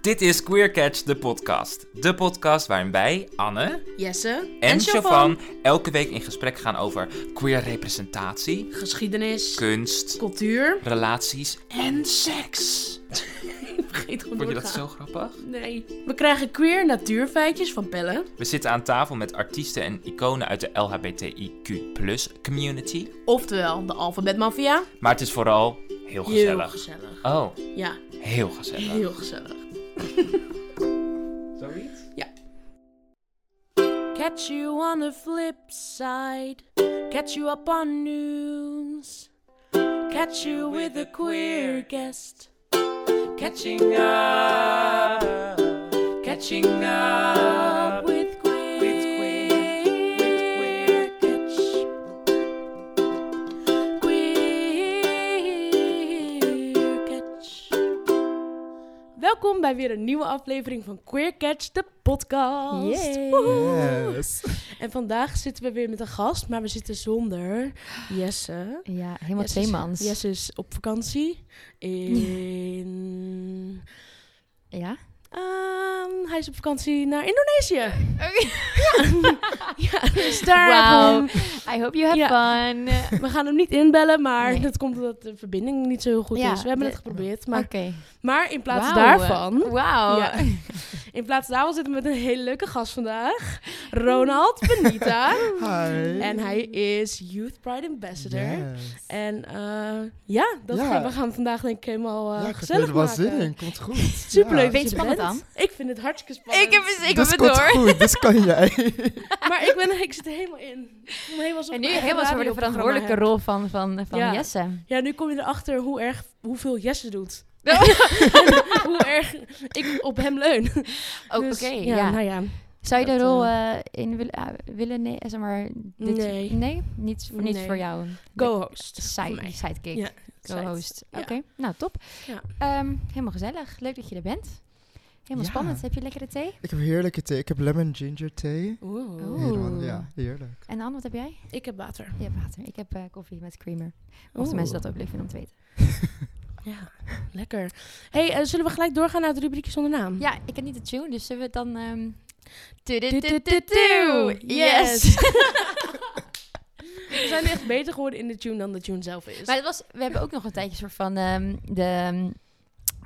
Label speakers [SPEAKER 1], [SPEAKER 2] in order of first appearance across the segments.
[SPEAKER 1] Dit is Queer Catch, de podcast. De podcast waarin wij, Anne
[SPEAKER 2] Jesse
[SPEAKER 1] en,
[SPEAKER 2] Chavan.
[SPEAKER 1] Chavan elke week in gesprek gaan over queer representatie,
[SPEAKER 2] Geschiedenis,
[SPEAKER 1] kunst,
[SPEAKER 2] cultuur.
[SPEAKER 1] relaties en seks.
[SPEAKER 2] Vergeet gewoon
[SPEAKER 1] Vond je
[SPEAKER 2] doorgaan.
[SPEAKER 1] dat zo grappig?
[SPEAKER 2] Nee. We krijgen queer natuurfeitjes van Pelle.
[SPEAKER 1] We zitten aan tafel met artiesten en iconen uit de LHBTIQ community.
[SPEAKER 2] Oftewel, de alfabetmafia.
[SPEAKER 1] Maar het is vooral heel
[SPEAKER 2] Heel
[SPEAKER 1] gezellig.
[SPEAKER 2] gezellig.
[SPEAKER 1] Oh,
[SPEAKER 2] Ja,
[SPEAKER 1] heel gezellig.
[SPEAKER 2] heel gezellig.
[SPEAKER 1] Zoiets?
[SPEAKER 2] Catch you on the flip side. Catch you up on news. Catch you with a queer guest. Catching up. Catching up with queer. catch. Queer catch. Welkom bij weer een nieuwe aflevering van Queer Catch, de podcast.
[SPEAKER 3] Yay.
[SPEAKER 2] Woehoe. En vandaag zitten we weer met een gast, maar we zitten zonder Jesse.
[SPEAKER 3] Ja, helemaal
[SPEAKER 2] Jesse
[SPEAKER 3] twee
[SPEAKER 2] is-
[SPEAKER 3] tweemans.
[SPEAKER 2] Jesse is op vakantie in...
[SPEAKER 3] Ja?
[SPEAKER 2] Ehm, hij is op vakantie naar Indonesië. Ja, dus daar
[SPEAKER 3] Wauw.
[SPEAKER 2] hebben we
[SPEAKER 3] I hope you have
[SPEAKER 2] Ja.
[SPEAKER 3] fun. Oké.
[SPEAKER 2] hem. We gaan hem niet inbellen, maar
[SPEAKER 3] Nee.
[SPEAKER 2] dat komt omdat de verbinding niet zo goed
[SPEAKER 3] Ja,
[SPEAKER 2] is. We hebben
[SPEAKER 3] de- Oh.
[SPEAKER 2] het geprobeerd, maar, maar in plaats
[SPEAKER 3] Wauw. Oh.
[SPEAKER 2] daarvan...
[SPEAKER 3] Wauw.
[SPEAKER 2] Ja. In plaats daarvan zitten we met een hele leuke gast vandaag. Ronald Benita.
[SPEAKER 4] Hi.
[SPEAKER 2] En hij is Youth Pride Ambassador.
[SPEAKER 4] Yes.
[SPEAKER 2] En eh, ja, dat
[SPEAKER 4] Ja.
[SPEAKER 2] Gaan, we gaan vandaag denk ik helemaal eh
[SPEAKER 4] ja, ik heb
[SPEAKER 2] gezellig
[SPEAKER 4] er wel
[SPEAKER 2] maken.
[SPEAKER 4] zin in. Komt goed.
[SPEAKER 2] Superleuk
[SPEAKER 4] Ja.
[SPEAKER 2] dat
[SPEAKER 3] Beetje
[SPEAKER 2] je
[SPEAKER 3] spannend,
[SPEAKER 2] bent. Ik vind het hartstikke spannend.
[SPEAKER 3] Ik heb het, ik heb
[SPEAKER 4] dus
[SPEAKER 3] het
[SPEAKER 4] komt
[SPEAKER 3] door.
[SPEAKER 4] goed, dus kan jij.
[SPEAKER 2] Maar ik, ben, ik zit er helemaal in. Ik voel me helemaal alsof ik
[SPEAKER 3] En nu
[SPEAKER 2] een echt
[SPEAKER 3] helemaal zo voor de
[SPEAKER 2] radioprogramma
[SPEAKER 3] verantwoordelijke
[SPEAKER 2] heb.
[SPEAKER 3] rol van, van, van
[SPEAKER 2] Ja.
[SPEAKER 3] Jesse.
[SPEAKER 2] Ja, nu kom je erachter hoe erg, hoeveel Jesse doet.
[SPEAKER 3] Oh.
[SPEAKER 2] hoe erg ik op hem leun.
[SPEAKER 3] Oh,
[SPEAKER 2] Dus,
[SPEAKER 3] Oké, ja.
[SPEAKER 2] Nou ja,
[SPEAKER 3] Zou je de
[SPEAKER 2] dat,
[SPEAKER 3] rol eh, in willen, ah, willen nee, zeg maar, dit,
[SPEAKER 2] Nee.
[SPEAKER 3] Nee? Niet, voor, niet
[SPEAKER 2] Nee.
[SPEAKER 3] voor jou.
[SPEAKER 2] co-host. voor
[SPEAKER 3] Side,
[SPEAKER 2] mij.
[SPEAKER 3] sidekick.
[SPEAKER 2] Ja,
[SPEAKER 3] Co-host.
[SPEAKER 2] Ja.
[SPEAKER 3] Oké, nou top.
[SPEAKER 2] Ja.
[SPEAKER 3] Ehm, helemaal gezellig. Leuk dat je er bent. Helemaal
[SPEAKER 4] Ja.
[SPEAKER 3] spannend. Heb je lekkere thee?
[SPEAKER 4] Ik heb heerlijke thee. Ik heb lemon ginger thee.
[SPEAKER 2] Oeh.
[SPEAKER 3] Oeh.
[SPEAKER 4] Helemaal, ja, heerlijk.
[SPEAKER 3] En Anne, wat heb jij?
[SPEAKER 2] Ik heb water.
[SPEAKER 3] Je hebt water. Ik heb eh, koffie met creamer. Mochten
[SPEAKER 2] Oeh.
[SPEAKER 3] mensen dat ook leuk vinden om te weten.
[SPEAKER 2] Ja, lekker. hey, eh, zullen we gelijk doorgaan naar het rubriekje zonder naam?
[SPEAKER 3] Ja, ik heb niet de tune, dus zullen we het dan... ehm,
[SPEAKER 2] Du-du-du-du-du.
[SPEAKER 3] Yes!
[SPEAKER 2] We zijn echt beter geworden in de tune dan de tune zelf is.
[SPEAKER 3] maar het was, we hebben ook nog een tijdje soort van ehm, de ehm,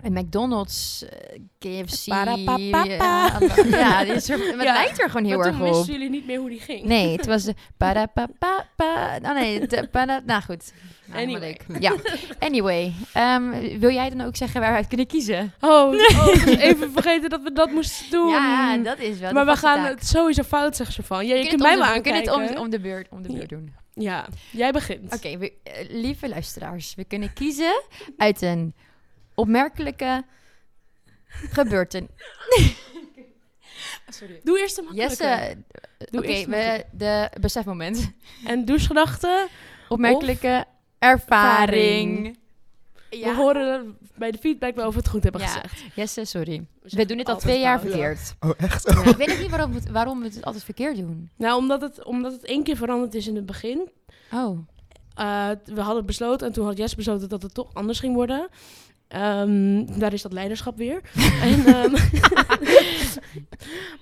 [SPEAKER 3] een McDonald's, eh, KFC...
[SPEAKER 2] Parapapapa.
[SPEAKER 3] Ja, alla- eh, ja, dit is soort, maar het
[SPEAKER 2] Ja,
[SPEAKER 3] lijkt er gewoon heel
[SPEAKER 2] Maar
[SPEAKER 3] erg
[SPEAKER 2] toen
[SPEAKER 3] op.
[SPEAKER 2] wisten jullie niet meer hoe die ging.
[SPEAKER 3] Nee, het was de parapapapa... Oh nee, de para... Nou goed. Nou, helemaal
[SPEAKER 2] Anyway.
[SPEAKER 3] leuk. Ja, anyway. ehm, wil jij dan ook zeggen waar we uit kunnen kiezen?
[SPEAKER 2] Oh, oh, even vergeten dat we dat moesten doen.
[SPEAKER 3] Ja, dat is wel de
[SPEAKER 2] maar we
[SPEAKER 3] vaste
[SPEAKER 2] gaan
[SPEAKER 3] taak.
[SPEAKER 2] het sowieso fout, zegt ze van. Ja, je
[SPEAKER 3] We
[SPEAKER 2] kunt
[SPEAKER 3] kunnen
[SPEAKER 2] mij
[SPEAKER 3] het om
[SPEAKER 2] wel
[SPEAKER 3] de-
[SPEAKER 2] aankijken.
[SPEAKER 3] We kunnen het om, om de beurt, om de beurt doen.
[SPEAKER 2] Ja, jij begint.
[SPEAKER 3] Oké, we- eh, lieve luisteraars, we kunnen kiezen uit een opmerkelijke gebeurtenis. Sorry.
[SPEAKER 2] Doe eerst een makkelijke.
[SPEAKER 3] Jesse, eh,
[SPEAKER 2] Doe
[SPEAKER 3] oké,
[SPEAKER 2] eerst
[SPEAKER 3] we-
[SPEAKER 2] makkelijk.
[SPEAKER 3] de besefmoment.
[SPEAKER 2] En douchegedachten.
[SPEAKER 3] Opmerkelijke ervaring.
[SPEAKER 2] ervaring. We horen bij de feedback wel of we het goed hebben
[SPEAKER 3] Ja.
[SPEAKER 2] gezegd. Dus
[SPEAKER 3] Jesse, eh, sorry.
[SPEAKER 2] zeggen
[SPEAKER 3] We doen het al
[SPEAKER 2] altijd
[SPEAKER 3] twee jaar
[SPEAKER 2] fout.
[SPEAKER 3] verkeerd.
[SPEAKER 4] Oh, echt?
[SPEAKER 3] Ja, ik weet ook niet waarom we, het, waarom we het dus altijd verkeerd doen.
[SPEAKER 2] Nou, omdat het, omdat het één keer veranderd is in het begin.
[SPEAKER 3] Oh,
[SPEAKER 2] Eh, we hadden besloten en toen had Jesse besloten dat het toch anders ging worden. Ehm, daar is dat leiderschap weer. en, ehm,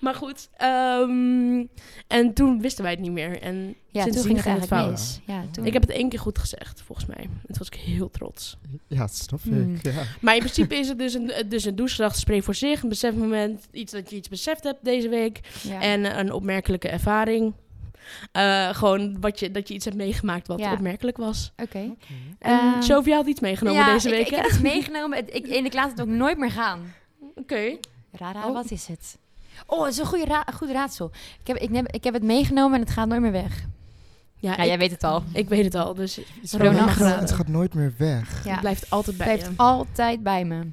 [SPEAKER 2] maar goed, ehm, en toen wisten wij het niet meer. En
[SPEAKER 3] ja,
[SPEAKER 2] sindsdien
[SPEAKER 3] toen ging het eigenlijk
[SPEAKER 2] fout.
[SPEAKER 3] mis. Ja, toen...
[SPEAKER 2] Ik heb het één keer goed gezegd, volgens mij. En toen was ik heel trots.
[SPEAKER 4] Ja, dat snap ik.
[SPEAKER 3] Hmm.
[SPEAKER 4] Ja.
[SPEAKER 2] Maar in principe is het dus een, eh, dus een douchedag spreekt voor zich. Een besefmoment, iets dat je iets beseft hebt deze week.
[SPEAKER 3] ja.
[SPEAKER 2] En een opmerkelijke ervaring. Eh, gewoon wat je, dat je iets hebt meegemaakt wat
[SPEAKER 3] Ja.
[SPEAKER 2] opmerkelijk was.
[SPEAKER 3] Oké.
[SPEAKER 2] En
[SPEAKER 3] Ehm,
[SPEAKER 2] Sophia had iets meegenomen
[SPEAKER 3] ja,
[SPEAKER 2] deze
[SPEAKER 3] ik-
[SPEAKER 2] week,
[SPEAKER 3] ik,
[SPEAKER 2] hè?
[SPEAKER 3] heb het meegenomen. Het- ik, en ik laat het ook nooit meer gaan.
[SPEAKER 2] Oké.
[SPEAKER 3] Rara,
[SPEAKER 2] Oh.
[SPEAKER 3] wat is het? Oh, het is een goede ra- goed raadsel. Ik heb, ik, neem, ik heb het meegenomen en het gaat nooit meer weg.
[SPEAKER 2] Ja,
[SPEAKER 3] Ja,
[SPEAKER 2] ik,
[SPEAKER 3] jij weet het al.
[SPEAKER 2] ik weet het al, dus het
[SPEAKER 4] Iets
[SPEAKER 3] Ronald
[SPEAKER 4] van,
[SPEAKER 3] geraden.
[SPEAKER 4] Het gaat nooit meer weg.
[SPEAKER 3] Ja. Het
[SPEAKER 2] blijft altijd bij
[SPEAKER 3] blijft
[SPEAKER 2] je.
[SPEAKER 3] altijd bij me.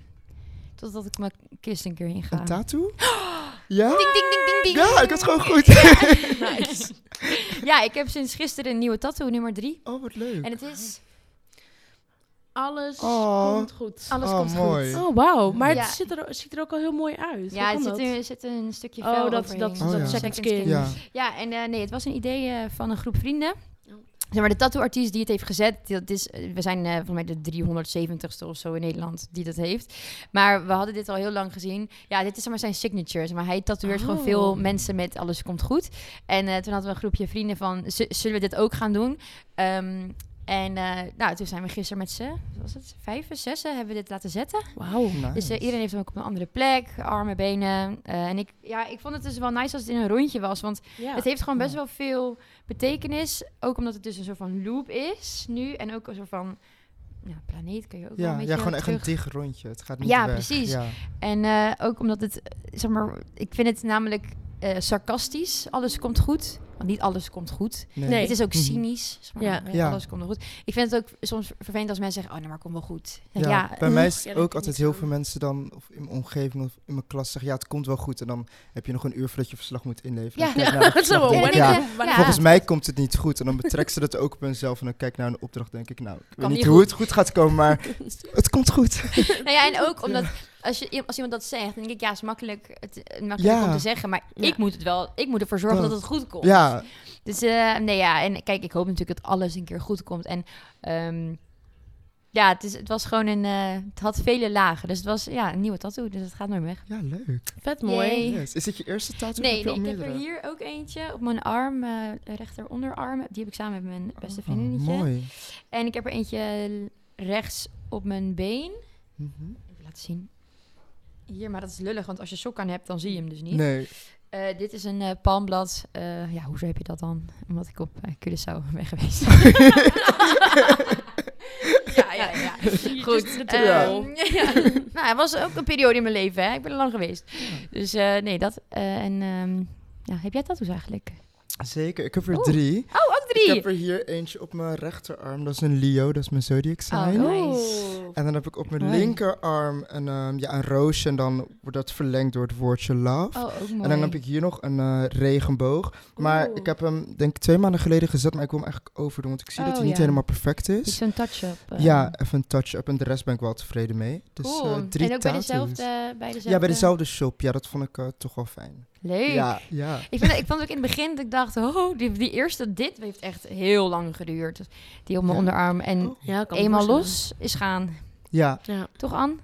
[SPEAKER 3] Totdat ik mijn kist een keer inga.
[SPEAKER 4] Een tattoo? Ja?
[SPEAKER 3] Ding, ding, ding, ding, ding.
[SPEAKER 4] Ja, ik had het gewoon goed.
[SPEAKER 2] Nice.
[SPEAKER 3] Ja, ik heb sinds gisteren een nieuwe tattoo, nummer drie.
[SPEAKER 4] Oh, wat leuk.
[SPEAKER 3] En het is...
[SPEAKER 2] Alles
[SPEAKER 4] Oh.
[SPEAKER 2] komt goed.
[SPEAKER 3] Alles
[SPEAKER 4] Oh,
[SPEAKER 3] komt
[SPEAKER 4] mooi.
[SPEAKER 3] goed.
[SPEAKER 2] Oh, wauw. Maar
[SPEAKER 3] Ja.
[SPEAKER 2] het ziet er, ziet er ook al heel mooi uit. Dus
[SPEAKER 3] Ja,
[SPEAKER 2] Hoe
[SPEAKER 3] het
[SPEAKER 2] kan
[SPEAKER 3] zit,
[SPEAKER 2] dat?
[SPEAKER 3] een, zit een stukje
[SPEAKER 2] Oh,
[SPEAKER 3] vel
[SPEAKER 2] dat,
[SPEAKER 3] overheen. Dus
[SPEAKER 2] dat,
[SPEAKER 4] Oh,
[SPEAKER 2] dat
[SPEAKER 4] ja.
[SPEAKER 2] second skin.
[SPEAKER 4] Ja.
[SPEAKER 3] Ja, en eh, nee, het was een idee eh, van een groep vrienden.
[SPEAKER 2] Oh.
[SPEAKER 3] Zeg maar, de tattooartiest die het heeft gezet, dat is, eh, we zijn eh volgens mij de 370ste of zo in Nederland die dat heeft. Maar we hadden dit al heel lang gezien. Ja, dit is zeg maar zijn signature. zeg Maar hij tatoeëert gewoon
[SPEAKER 2] Oh.
[SPEAKER 3] veel mensen met alles komt goed. En eh, toen hadden we een groepje vrienden van, "Z- zullen we dit ook gaan doen? Ehm, en eh, nou, toen zijn we gisteren met z'n, wat was het, vijf, zessen hebben we dit laten zetten.
[SPEAKER 2] Wauw.
[SPEAKER 3] Dus eh, iedereen heeft hem ook op een andere plek, armen, benen. eh, en ik, ja, ik vond het dus wel nice als het in een rondje was. Want
[SPEAKER 2] Ja.
[SPEAKER 3] het heeft gewoon best
[SPEAKER 4] Ja.
[SPEAKER 3] wel veel betekenis. Ook omdat het dus een soort van loop is nu. En ook een soort van ja, planeet kun je ook wel
[SPEAKER 4] ja,
[SPEAKER 3] een beetje
[SPEAKER 4] ja, gewoon echt
[SPEAKER 3] terug.
[SPEAKER 4] een dicht rondje. Het gaat niet
[SPEAKER 3] Ja,
[SPEAKER 4] weg.
[SPEAKER 3] precies.
[SPEAKER 4] Ja.
[SPEAKER 3] En eh, ook omdat het, eh, zeg maar, ik vind het namelijk eh, sarcastisch. Alles komt goed. Want niet alles komt goed.
[SPEAKER 2] Nee.
[SPEAKER 3] Het is ook
[SPEAKER 4] Mhm.
[SPEAKER 3] cynisch. zeg maar, eh,
[SPEAKER 2] Ja.
[SPEAKER 4] Ja.
[SPEAKER 3] Alles komt wel goed. Ik vind het ook soms vervelend als mensen zeggen, oh, nou maar komt wel goed. Dan denk
[SPEAKER 4] Ja, mm.
[SPEAKER 3] ik, ja,
[SPEAKER 4] bij mij is
[SPEAKER 2] Ja,
[SPEAKER 4] het
[SPEAKER 2] dat
[SPEAKER 4] ook
[SPEAKER 2] kan
[SPEAKER 4] altijd
[SPEAKER 2] niet
[SPEAKER 4] heel
[SPEAKER 2] zo.
[SPEAKER 4] veel mensen dan, of in mijn omgeving of in mijn klas zeggen, ja, het komt wel goed. En dan heb je nog een uur voordat je verslag moet inleveren.
[SPEAKER 3] Ja.
[SPEAKER 4] Dan kijk je
[SPEAKER 2] Ja,
[SPEAKER 4] naar het
[SPEAKER 2] zo,
[SPEAKER 4] verslag en denk
[SPEAKER 3] wanneer-
[SPEAKER 4] je, ja,
[SPEAKER 3] ja.
[SPEAKER 2] wanneer-
[SPEAKER 4] Volgens mij komt het niet goed. En dan betrekt ze dat ook op hunzelf. En dan kijk ik naar een opdracht, denk ik, nou, ik weet
[SPEAKER 3] Kan
[SPEAKER 4] niet
[SPEAKER 3] niet
[SPEAKER 4] hoe
[SPEAKER 3] goed.
[SPEAKER 4] het goed gaat komen, maar het komt goed.
[SPEAKER 3] Nou ja, en ook omdat als, je, als iemand dat zegt, dan denk ik, ja, is makkelijk, het, eh, makkelijk
[SPEAKER 4] Ja.
[SPEAKER 3] om te zeggen. Maar
[SPEAKER 2] Ja.
[SPEAKER 3] ik moet het wel, ik moet ervoor zorgen
[SPEAKER 4] Dat-
[SPEAKER 3] dat, het goed komt.
[SPEAKER 4] Ja,
[SPEAKER 3] Dus eh, nee, ja, en kijk, ik hoop natuurlijk dat alles een keer goed komt. En ehm, ja, het, is, het was gewoon een, eh, het had vele lagen. Dus het was ja, een nieuwe tattoo, dus het gaat nooit weg.
[SPEAKER 4] ja leuk.
[SPEAKER 2] Vet mooi.
[SPEAKER 3] Yay.
[SPEAKER 4] Yes. Is dit je eerste tattoo?
[SPEAKER 3] Nee,
[SPEAKER 4] Heb je
[SPEAKER 3] nee,
[SPEAKER 4] al
[SPEAKER 3] ik heb er
[SPEAKER 4] meerdere?
[SPEAKER 3] hier ook eentje op mijn arm, eh rechter onderarm. Die heb ik samen met mijn beste
[SPEAKER 4] Oh,
[SPEAKER 3] vriendinnetje.
[SPEAKER 4] mooi.
[SPEAKER 3] en ik heb er eentje rechts op mijn been.
[SPEAKER 4] Mhm.
[SPEAKER 3] Even laten zien. Hier, maar dat is lullig, want als je sok aan hebt, dan zie je hem dus niet.
[SPEAKER 4] Nee,
[SPEAKER 3] Eh, dit is een eh, palmblad. Eh, ja, hoezo heb je dat dan? Omdat ik op eh, Curaçao ben geweest. ja, ja, ja. Goed.
[SPEAKER 2] Goed.
[SPEAKER 3] Ehm, ja. Nou, het was ook een periode in mijn leven. Hè. Ik ben er lang geweest. Dus eh, nee, dat. eh, en ehm, ja, heb jij tattoos eigenlijk?
[SPEAKER 4] zeker. Ik heb er
[SPEAKER 3] Oeh.
[SPEAKER 4] drie.
[SPEAKER 3] Oh, ook
[SPEAKER 4] Ik
[SPEAKER 3] drie.
[SPEAKER 4] heb er hier eentje op mijn rechterarm. Dat is een Leo, dat is mijn zodiac sign.
[SPEAKER 3] Oh,
[SPEAKER 4] En dan heb ik op mijn
[SPEAKER 3] Mooi.
[SPEAKER 4] linkerarm een, ehm, ja, een roosje. En dan wordt dat verlengd door het woordje love.
[SPEAKER 3] Oh, ook mooi.
[SPEAKER 4] En dan heb ik hier nog een eh, regenboog. Maar
[SPEAKER 2] Oeh.
[SPEAKER 4] ik heb hem denk ik twee maanden geleden gezet. Maar ik wil hem eigenlijk overdoen. Want ik zie dat
[SPEAKER 3] Oh,
[SPEAKER 4] hij niet
[SPEAKER 3] ja.
[SPEAKER 4] helemaal perfect
[SPEAKER 3] Iets
[SPEAKER 4] is.
[SPEAKER 3] Zo'n touch-up. eh.
[SPEAKER 4] Ja, even een touch-up. En de rest ben ik wel tevreden mee. Dus eh,
[SPEAKER 3] Cool.
[SPEAKER 4] drie
[SPEAKER 3] en ook bij
[SPEAKER 4] tattoos.
[SPEAKER 3] dezelfde, bij dezelfde...
[SPEAKER 4] Ja, bij dezelfde shop. Ja, dat vond ik eh, toch wel fijn.
[SPEAKER 3] Leuk.
[SPEAKER 4] Ja, ja.
[SPEAKER 3] Ik, vind, ik vond ook in het begin dat ik dacht, oh, die, die eerste, dit heeft echt heel lang geduurd. Dus Die op mijn
[SPEAKER 4] Ja.
[SPEAKER 3] onderarm. En
[SPEAKER 4] Oh.
[SPEAKER 2] Ja, kan me
[SPEAKER 3] eenmaal
[SPEAKER 2] voorstellen.
[SPEAKER 3] los is gaan.
[SPEAKER 4] Ja,
[SPEAKER 2] Ja.
[SPEAKER 3] Toch, An?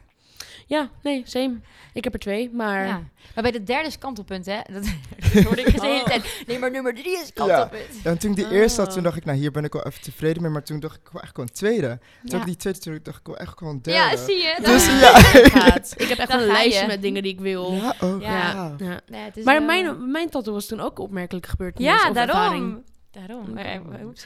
[SPEAKER 2] ja, nee, same. Ik heb er twee, maar...
[SPEAKER 3] Ja. Maar bij de derde is kantelpunt, hè? Dat, dat hoorde ik de hele
[SPEAKER 2] Oh.
[SPEAKER 3] tijd. Nee, maar nummer drie is kantelpunt.
[SPEAKER 4] en toen ik die eerste had,
[SPEAKER 3] Oh.
[SPEAKER 2] Ah.
[SPEAKER 4] toen dacht ik, nou hier ben ik wel even tevreden mee. Maar toen dacht ik, ik wil echt gewoon een tweede. Toen
[SPEAKER 3] Ja,
[SPEAKER 4] ik die tweede, toen dacht ik, ik wil echt gewoon een derde.
[SPEAKER 3] ja. zie je?
[SPEAKER 4] Dus
[SPEAKER 3] Daar-
[SPEAKER 4] ja.
[SPEAKER 2] Gaat. Ik heb echt
[SPEAKER 3] Dan
[SPEAKER 2] een
[SPEAKER 3] ga
[SPEAKER 2] lijstje
[SPEAKER 3] je.
[SPEAKER 2] met dingen die ik wil.
[SPEAKER 4] Ja, oh,
[SPEAKER 3] Ja.
[SPEAKER 4] ja.
[SPEAKER 2] Ja.
[SPEAKER 3] Nee, het is
[SPEAKER 2] Maar
[SPEAKER 3] wel-
[SPEAKER 2] mijn, mijn tattoo was toen ook opmerkelijk gebeurd.
[SPEAKER 3] Dus, eh, Ja,
[SPEAKER 2] of
[SPEAKER 3] daarom.
[SPEAKER 2] ervaring.
[SPEAKER 3] Daarom. Eh,
[SPEAKER 2] Oké,
[SPEAKER 3] Maar-
[SPEAKER 2] maar-
[SPEAKER 3] oeps.